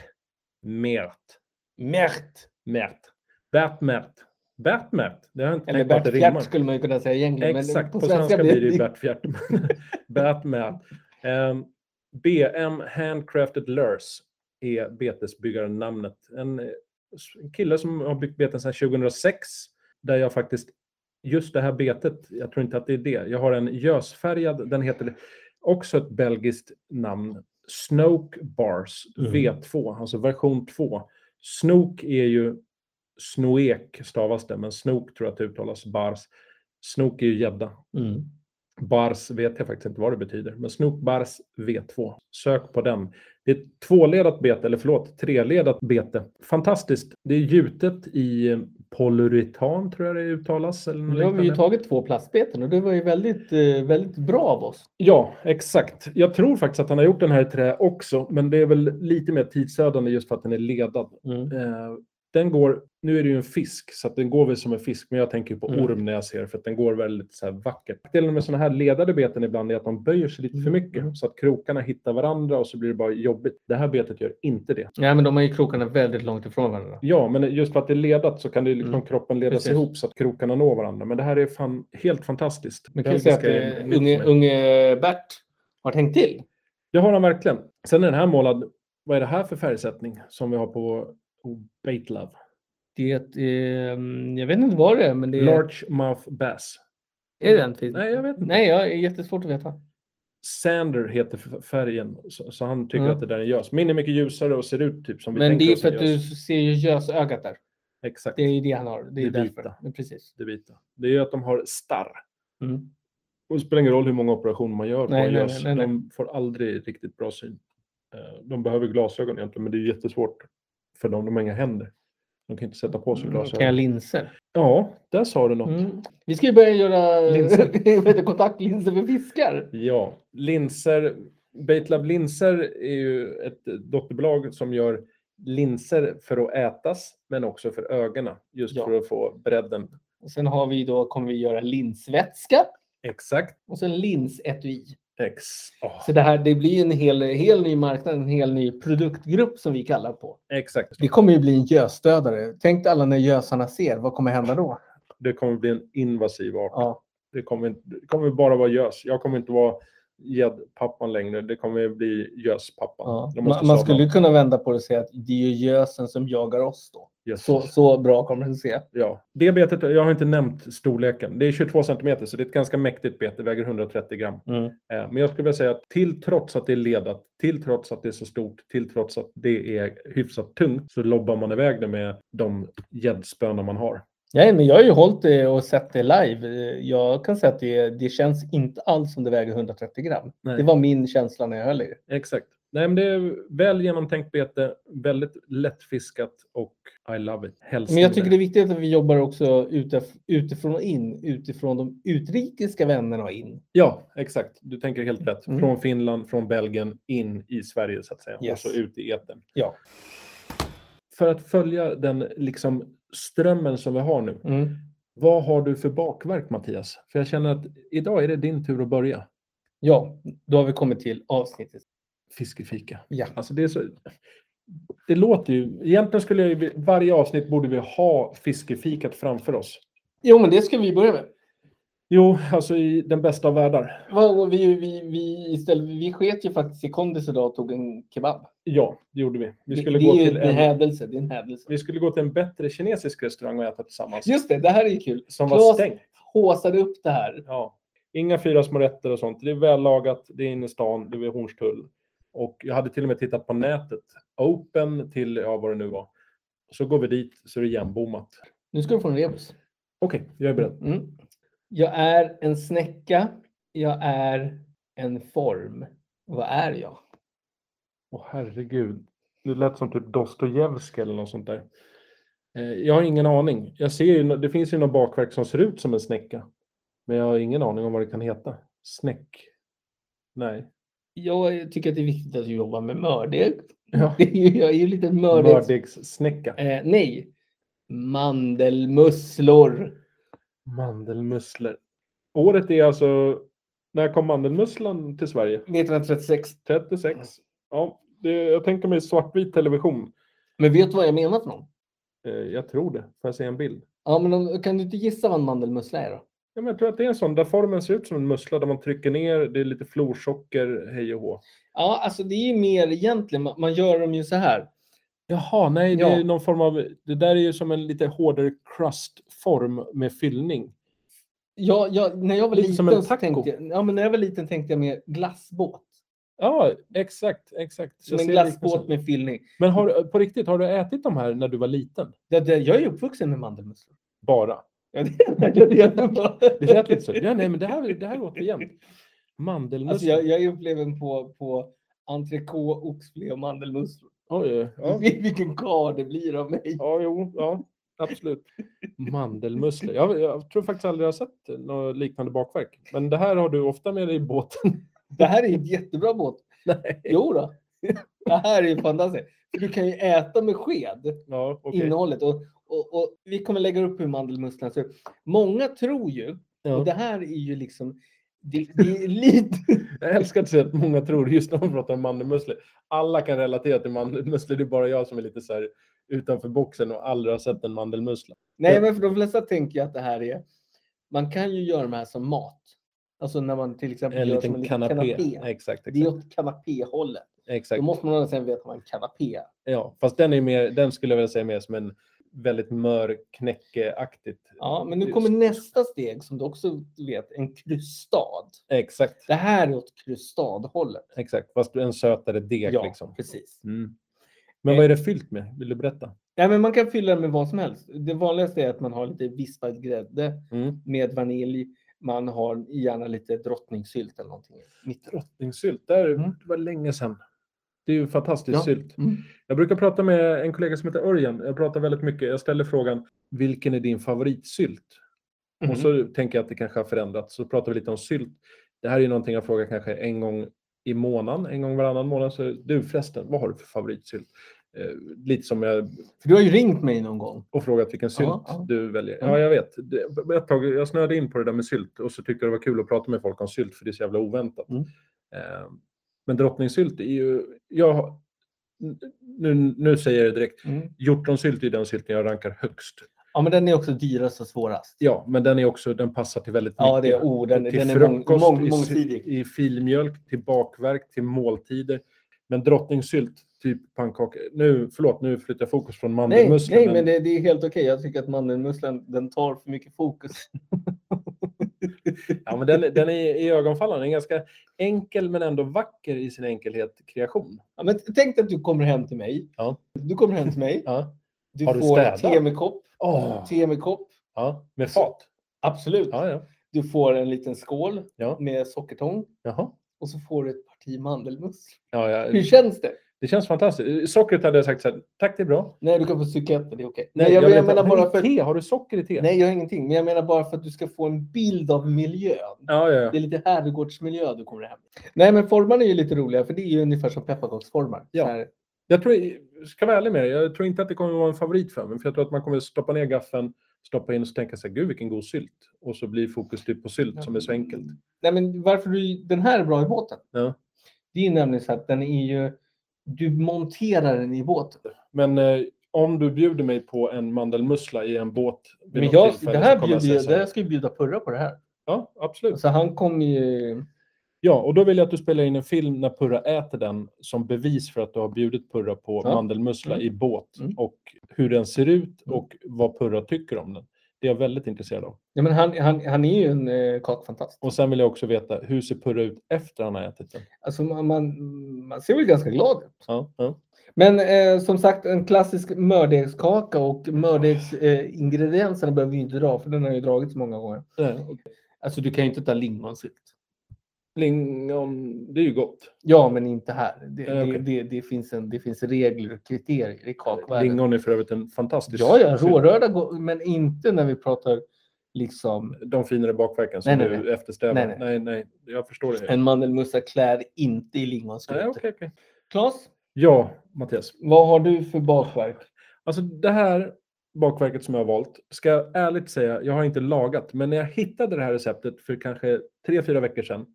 Mert. *laughs* Mert. Mert. Bert Mert. Bert Mert. Det har jag inte Eller tänkt på att Bert det rimmar. Fjärt skulle man ju kunna säga egentligen. Exakt, på svenska blir det ju Mm. Bert Fjärt. *laughs* Batman. Um, BM Handcrafted Lures är betesbyggaren namnet. En eh, s- en kille som har byggt beten sedan 2006 där jag faktiskt, just det här betet, jag tror inte att det är det. Jag har en gösfärgad, den heter också ett belgiskt namn, Snoke Bars Mm. V2, alltså version 2. Snoke är ju Snoek stavas det, men Snoke tror jag att det uttalas. Bars. Snoke är ju gädda. Mm. Bars vet jag faktiskt inte vad det betyder, men Snoke Bars V2. Sök på den. Det är ett tvåledat bete, eller förlåt, treledat bete. Fantastiskt. Det är gjutet i polyuretan, tror jag det uttalas. Eller något Nu har vi ju liknande. tagit två plastbeten och det var ju väldigt, eh, väldigt bra av oss. Ja, exakt. Jag tror faktiskt att han har gjort den här i trä också, men det är väl lite mer tidsödande just för att den är ledad. Mm. Eh, den går, nu är det ju en fisk, så att den går väl som en fisk, men jag tänker ju på Mm. orm när jag ser det, för att den går väldigt så här vackert. Nackdelen med sådana här ledade beten ibland är att de böjer sig lite för Mm. mycket, så att krokarna hittar varandra och så blir det bara jobbigt. Det här betet gör inte det. Nej, men de har ju krokarna väldigt långt ifrån varandra. Ja, men just för att det är ledat så kan det liksom Mm. kroppen ledas Precis. ihop så att krokarna når varandra. Men det här är fan helt fantastiskt. Man kan ju säga att Belgiska är eh, nytt för unge, mig. unge Bert har tänkt till. Det har han verkligen. Sen är den här målad, vad är det här för färgsättning som vi har på Bait Love? ehm, Det är, ett, eh, jag vet inte vad det är, men det är... Large Mouth Bass. Är det den filmen? Nej, jag vet inte. Nej, jag är jättesvårt att veta. Sander heter f- färgen, så, så han tycker Mm. att det där är gös. Min är mycket ljusare och ser ut typ som vi Men det tänker är oss för en att gös. du ser ju gösögat där. Exakt, Det är ju det han har. Det är Det vita. därför. Men precis. det vita. Det är ju att de har starr. Mm. Och det spelar ingen roll hur många operationer man gör på Nej, en nej, gös. nej, nej, De får aldrig riktigt bra syn. Eh, De behöver glasögon egentligen, men det är jättesvårt för dem. De har inga händer. De kan inte sätta på sig Mm, glasögon. Kan jag linser? Ja, där sa du något. Mm. Vi ska ju börja göra Linser. *laughs* vad heter kontaktlinser för fiskar. Ja, linser. Baitlab Linser är ju ett dotterbolag som gör linser för att ätas, men också för ögonen. Just Ja. för att få bredden. Och sen har vi då, kommer vi göra linsvätska Exakt. och sen linsetui. Ex. åh, Så det här det blir en hel, hel ny marknad, en hel ny produktgrupp som vi kallar på. Exakt. Det kommer ju bli en gösdödare. Tänk dig alla när gösarna ser, vad kommer hända då? Det kommer bli en invasiv art. Ja. Det kommer, inte- det kommer bara vara gös. Jag kommer inte vara gäddpappan längre. Det kommer bli göspappan. Ja. Jag måste Man, man sadla skulle ju kunna vända på det och säga att det är ju gösen som jagar oss då. gös. Så, så bra kommer det att se. Ja. Det betet, jag har inte nämnt storleken. Det är 22 centimeter, så det är ett ganska mäktigt bete. väger 130 gram. Mm. Eh, Men jag skulle vilja säga att till trots att det är ledat, till trots att det är så stort, till trots att det är hyfsat tungt, så lobbar man iväg det med de gäddspöna man har. Nej, men jag har ju hållit det och sett det live. Eh, Jag kan säga att det, det känns inte alls som det väger 130 gram. Nej. Det var min känsla när jag höll i det. Exakt. Nej, men det är väl genomtänkt bete, väldigt lättfiskat och I love it. Helst Men jag tycker det är viktigt att vi jobbar också utif- utifrån och in, utifrån de utrikiska vännerna och in. Ja, exakt. Du tänker helt rätt. Mm. Från Finland, från Belgien, in i Sverige så att säga. Yes. Och så ut i etern. Ja. För att följa den liksom strömmen som vi har nu. Mm. Vad har du för bakverk Mattias? För jag känner att idag är det din tur att börja. Ja, då har vi kommit till avsnittet. Fiskefika. Ja. Alltså det är så... Det låter ju... Egentligen skulle jag ju... Varje avsnitt borde vi ha fiskefikat framför oss. Jo, men det ska vi börja med. Jo, alltså i den bästa av världar. Vad- Vi, vi, vi, istället, vi sket ju faktiskt i kondis idag och tog en kebab. Ja, det gjorde vi. Vi det skulle, det gå är ju till en en... hädelse. Det är en hädelse. vi skulle gå till en bättre kinesisk restaurang och äta tillsammans. Just det, det här är ju kul. Som var Klas- stängd. Håsade upp det här. Ja. Inga fyra små rätter och sånt. Det är vällagat, det är inne i stan, det är vid Hornstull. Och jag hade till och med tittat på nätet. Open till, ja vad det nu var. Så går vi dit så är det igenbommat. Nu ska du få en rebus. Okej, jag är beredd. Mm. Jag är en snäcka. Jag är en form. Vad är jag? Åh herregud. Det lät som typ Dostojevskij eller något sånt där. Eh, Jag har ingen aning. Jag ser ju, det finns ju något bakverk som ser ut som en snäcka. Men jag har ingen aning om vad det kan heta. Snäck? Nej. Jag tycker att det är viktigt att jobba med mördeg. Ja. *laughs* Det är ju- Jag är ju lite mördig. Mördegssnäcka. Eh, nej. Mandelmusslor. Mandelmusslor. Året är alltså... När kom mandelmusslan till Sverige? 1936. 36. Ja, det, jag tänker mig svartvit television. Men vet du vad jag menar för någon? Eh, jag tror det. Får jag se en bild? Ja, men om, kan du inte gissa vad en mandelmussla är då? Ja, men jag tror att det är en sån där formen ser ut som en mussla där man trycker ner, det är lite florsocker, hej och hå. Ja, alltså det är ju mer egentligen, man, man gör dem ju så här. Jaha, nej, det Ja. är någon form av... Det där är ju som en lite hårdare crust-form med fyllning. Jag, jag, när jag var Lite liten som så en taco. tänkte jag, ja, men när jag var liten tänkte jag mer glassbåt. Ja, exakt, exakt. Som Jag en ser glassbåt liknelsen. med fyllning. Men har, på riktigt, har du ätit de här när du var liten? Det, det, jag är uppvuxen med mandelmusslor. Bara? *laughs* Ja, det, *laughs* jag, det, Det lät lite så. Ja, nej, men det här, det här låter jämnt. Mandelmusslor. Alltså, jag, jag är uppleven på, på entrecote, oxfilé och mandelmusslor. Oj, oj, ja. *laughs* Vilken kar det blir av mig. ja, jo, ja, absolut. Mandelmusslor. Jag, jag tror faktiskt aldrig jag har sett något liknande bakverk. Men det här har du ofta med dig i båten. Det här är ett jättebra båt. *laughs* Nej. Jo då. *laughs* Det här är ju fantastiskt. Du kan ju äta med sked Ja, okej. innehållet. Och, och, och vi kommer lägga upp hur mandelmusslan ser ut. Många tror ju, och det Ja. här är ju liksom, det, det är lite... *laughs* Jag älskar att se att många tror just när man pratar om mandelmusslor. Alla kan relatera till mandelmusslor. Det är bara jag som är lite så här utanför boxen och aldrig har sett en mandelmussla. Nej, men för de flesta tänker jag att det här är... Man kan ju göra de här som mat. Alltså när man till exempel En gör som liten kanapé. kanapé. Exakt, Det är exakt. åt kanapéhållet. Då exakt. måste man sen veta vad en kanapé är. Ja, fast den, är mer, den skulle jag vilja säga mer som en väldigt mör knäckeaktigt. Ja, men nu kommer nästa steg som du också vet, en krystad. Exakt, Det här är åt krystadhållet. exakt. Fast en sötare deg Ja, liksom. precis. Mm. Men vad är det fyllt med? Vill du berätta? Ja, men man kan fylla den med vad som helst. Det vanligaste är att man har lite vispad grädde Mm. med vanilj. Man har gärna lite drottningsylt eller någonting. Mitt i. Drottningsylt, där, Mm. det var länge sedan. Det är ju fantastisk Ja. sylt. Mm. Jag brukar prata med en kollega som heter Örjan. Jag pratar väldigt mycket. Jag ställer frågan, vilken är din favoritsylt? Mhm. Och så tänker jag att det kanske har förändrats. Så pratar vi lite om sylt. Det här är ju någonting jag frågar kanske en gång i månaden, en gång varannan månad. Så, du förresten, vad har du för favoritsylt? Eh, lite som jag För du har ju ringt mig någon gång. och frågat vilken sylt ja. du väljer. Mm. Ja, jag vet. Det, ett tag, jag snöade in på det där med sylt och så tyckte jag det var kul att prata med folk om sylt för det är så jävla oväntat. Mm. Eh, men drottningsylt är ju... Jag, har- nu, nu säger jag det direkt. Mm. Hjortronsylt är den sylten jag rankar högst. Ja, men den är också dyrast och svårast. Ja, men den är också, den passar till väldigt Ja, det mycket. är ord. Den, till den är mång, frukost, mång, i, mångsidig. i filmjölk, till bakverk, till måltider. Men drottningsylt, typ pannkaka. Nu, förlåt, nu flyttar jag fokus från Nej, mandelmusslor. nej, men det, det är helt okej. Jag tycker att mandelmusslan, den tar för mycket fokus. Ja, men den, den är i ögonfallande. Den är ganska enkel men ändå vacker i sin enkelhet kreation. Ja, men tänk dig att du kommer hem till mig. Ja. Du kommer hem till mig. Ja. Du Har du får städat? te med kopp. Åh, Te med kopp. ja. Med fat. Absolut. Ja, ja. Du får en liten skål Ja. med sockertång Jaha. och så får du ett parti mandelmussla. Ja, Hur ja. känns det? Det känns fantastiskt. Sockret hade jag sagt så här, tack det är bra. Nej, du kan få stryka ett, men det är okej. Nej, Nej, jag, jag jag, vet menar att- bara men för... Te, har du socker i te? Nej, jag har ingenting. Men jag menar bara för att du ska få en bild av miljön. Ja, ja, Det ja. är lite herrgårdsmiljö du kommer hem. Nej, men formarna är ju lite roliga, för det är ju ungefär som pepparkaksformar. Ja. Så här, Jag tror, ska vara ärlig med dig, jag tror inte att det kommer vara en favorit för mig. För jag tror att man kommer stoppa ner gaffeln, stoppa in och så tänka sig, gud vilken god sylt. Och så blir fokus typ på sylt som är så enkelt. Nej, men varför du, den här är bra i båten? Ja. Det är ju nämligen så att den är ju... Du monterar den i båten. Men eh, om du bjuder mig på en mandelmussla i en båt vid Men något jag, tillfälle det så här kommer jag bjuder, säga jag, så här, jag ska ju bjuda Purra på det här. Ja, absolut. Så han kommer ju... Ja, och då vill jag att du spelar in en film när Purra äter den som bevis för att du har bjudit Purra på Ja. mandelmussla Mm. i båt Mm. och hur den ser ut Mm. och vad Purra tycker om den. Det är jag väldigt intresserad av. Ja, men han, han, han är ju en eh, kakfantast. Och sen vill jag också veta, hur ser Purra ut efter han har ätit den? Alltså, man, man, man ser väl ganska glad ut. Ja, ja. Men eh, som sagt, en klassisk mördegskaka och mördegsingredienserna eh, ingredienserna behöver vi ju inte dra, för den har ju dragits många gånger. Nej, och Alltså, du kan ju inte ta lingonsylt. Lingon, det är ju gott. Ja, men inte här. Det, Eh, okej. det, det, det, finns, en, det finns regler och kriterier i kakvärlden. Lingon är för övrigt en fantastisk Ja, ja, sylt. rårörda går, men inte när vi pratar liksom De finare bakverken som Nej, nej, du nej. eftersträvar. Nej, nej. nej, nej. Jag förstår det. en mandelmussa klär inte i lingonsylt. Nej, okej, okej. Claes, Ja, Mattias. vad har du för bakverk? Alltså det här bakverket som jag har valt, ska jag ärligt säga, jag har inte lagat, men när jag hittade det här receptet för kanske tre fyra veckor sedan,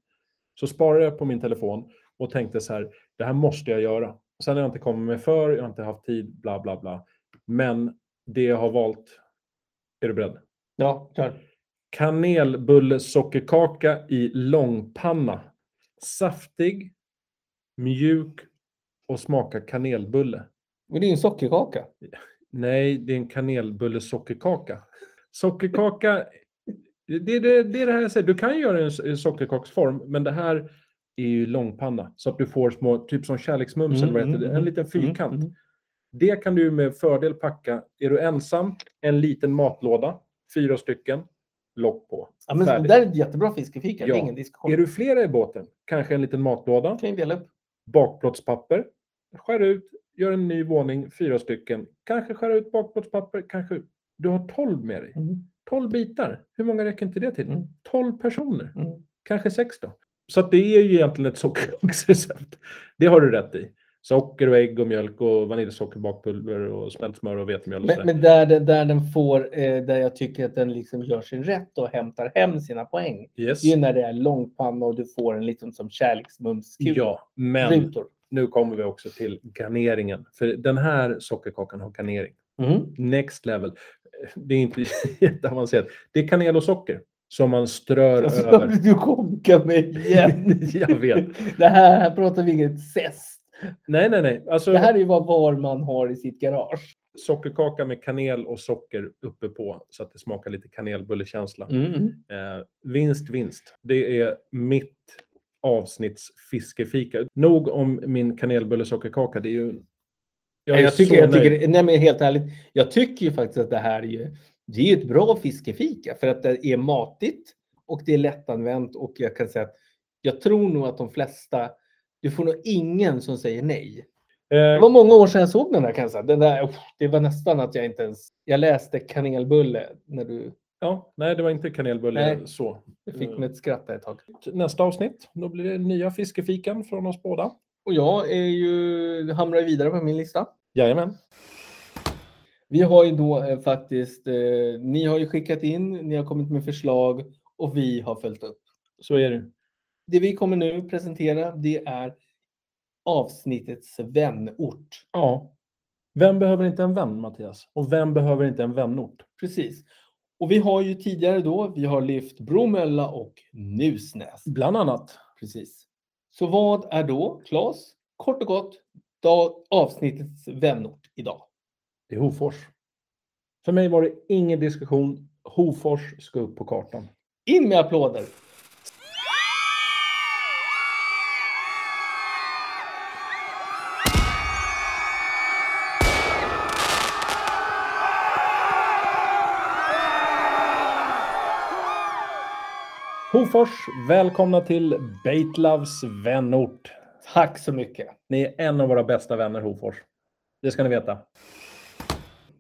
så sparade jag på min telefon och tänkte så här, det här måste jag göra. Sen har jag inte kommit mig för, jag har inte haft tid, bla bla bla. Men det jag har valt, är du beredd? Ja, kör. Kanelbullesockerkaka i långpanna. Saftig, mjuk och smakar kanelbulle. Men det är ju en sockerkaka. Nej, det är en kanelbullesockerkaka. Sockerkaka, det, det, det är det här jag säger. Du kan ju göra en so- en sockerkaksform, men det här är ju långpanna. Så att du får små, typ som kärleksmums Mm, eller vad heter mm, det, en mm, liten mm, fyrkant. mm. Det kan du med fördel packa. Är du ensam, en liten matlåda, fyra stycken, lock på. Ja, men det Färdigt. där är ett jättebra fiskefika. Det Ja. är ingen diskussion. Är du flera i båten, kanske en liten matlåda, kan ju dela upp. bakplåtspapper, skär ut, gör en ny våning, fyra stycken. Kanske skär ut bakplåtspapper, kanske... Du har tolv med dig. 12 bitar. Hur många räcker inte det till? Mm. 12 personer. Mm. Kanske 6 då. Så att det är ju egentligen ett sockerkaksrecept. Det har du rätt i. Socker och ägg och mjölk och vaniljsocker, bakpulver och smält smör och vetemjöl och Men, sådär. men där, den- där den får, eh, där jag tycker att den liksom gör sin rätt och hämtar hem sina poäng. Yes. Det är ju när det är långpanna och du får en liksom som kärleksmumskur. Ja, men Rutor. nu kommer vi också till garneringen. För den här sockerkakan har garnering. Mm. Next level. Det är inte *laughs* jätteavancerat. Det är kanel och socker som man strör Alltså, över. du chockar mig igen. *laughs* Jag vet. Det här, här pratar vi inget zest. Nej, nej, nej. Alltså, Det här är ju vad var man har i sitt garage. Sockerkaka med kanel och socker uppe på så att det smakar lite kanelbullekänsla. Mm. Eh, vinst, vinst. Det är mitt avsnitts fiskefika. Nog om min kanelbulle sockerkaka. Det är ju... Jag, är jag tycker, så jag nöjd. tycker, nej men helt ärligt, jag tycker ju faktiskt att det här är ju, det är ju ett bra fiskefika för att det är matigt och det är lättanvänt och jag kan säga att jag tror nog att de flesta, du får nog ingen som säger nej. Det Eh, var många år sedan jag såg den här kan jag säga. Den där, uff, det var nästan att jag inte ens, jag läste kanelbulle när du, ja, nej, det var inte kanelbulle Nej. så. jag fick Mm. mig ett skratt där ett tag. Nästa avsnitt, då blir det nya fiskefikan från oss båda. Och jag är ju, hamnar ju vidare på min lista. Jajamän. Vi har ju då eh, faktiskt, eh, ni har ju skickat in, ni har kommit med förslag och vi har följt upp. Så är det. Det vi kommer nu presentera det är avsnittets vänort. Ja. Vem behöver inte en vän, Mattias? Och vem behöver inte en vänort? Precis. Och vi har ju tidigare då, vi har lyft Bromölla och Nusnäs. Bland annat. Precis. Så vad är då, Claes, kort och gott, dag, avsnittets vänort idag? Det är Hofors. För mig var det ingen diskussion. Hofors ska upp på kartan. In med applåder! Hofors, välkomna till Baitlövs vänort. Tack så mycket! Ni är en av våra bästa vänner, Hofors. Det ska ni veta.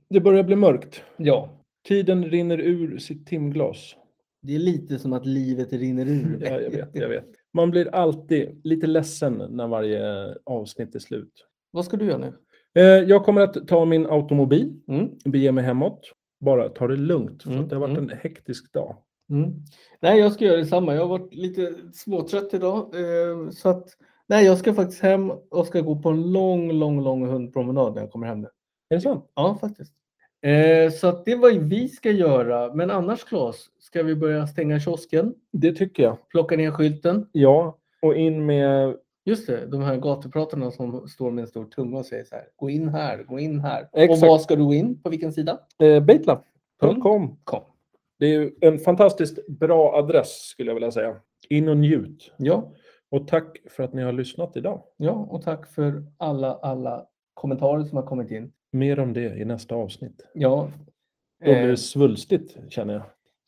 Det börjar bli mörkt. Ja, Tiden rinner ur sitt timglas. det är lite som att livet rinner ur mig. Ja, jag vet, jag vet. Man blir alltid lite ledsen när varje avsnitt är slut. *laughs* Vad ska du göra nu? Eh, Jag kommer att ta min automobil, Mm. bege mig hemåt. Bara ta det lugnt, för Mm, att det har varit mm. en hektisk dag. Mm. Nej, jag ska göra detsamma. Jag har varit lite småtrött idag. Eh, så att, nej, jag ska faktiskt hem och ska gå på en lång, lång, lång hundpromenad när jag kommer hem nu. Är det sant? Ja, faktiskt. Eh, så att det är vad vi ska göra. Men annars, Claes, ska vi börja stänga kiosken, Det tycker jag. plocka ner skylten. Ja, och in med... Just det, de här gatupratarna som står med en stor tunga och säger så här. Gå in här, gå in här. Exakt. Och vad ska du gå in? På vilken sida? Eh, Baitlab.com. Kom. Det är ju en fantastiskt bra adress skulle jag vilja säga. In och njut. Ja, Och tack för att ni har lyssnat idag. ja, och tack för alla, alla kommentarer som har kommit in. Mer om det i nästa avsnitt. Ja. Då blir eh, det svulstigt känner jag.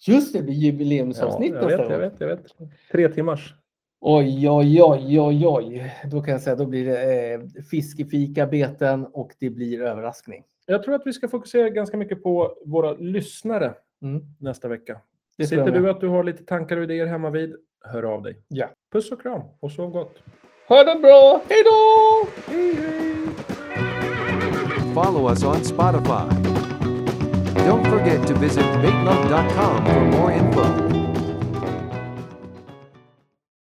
Just det, det blir jubileumsavsnitt ja, jag vet, jag gång. vet, jag vet. Tre timmars. Oj, oj, oj, oj, oj. Då kan jag säga då blir det eh, fiskefika, beten och det blir överraskning. Jag tror att vi ska fokusera ganska mycket på våra lyssnare Mm. nästa vecka. Det tror Sitter jag med. du att du har lite tankar och idéer hemma vid? Hör av dig. Ja. Puss och kram och sov gott. Ha det bra! Hej då! Follow us on Spotify. Don't forget to visit baitlove.com for more info.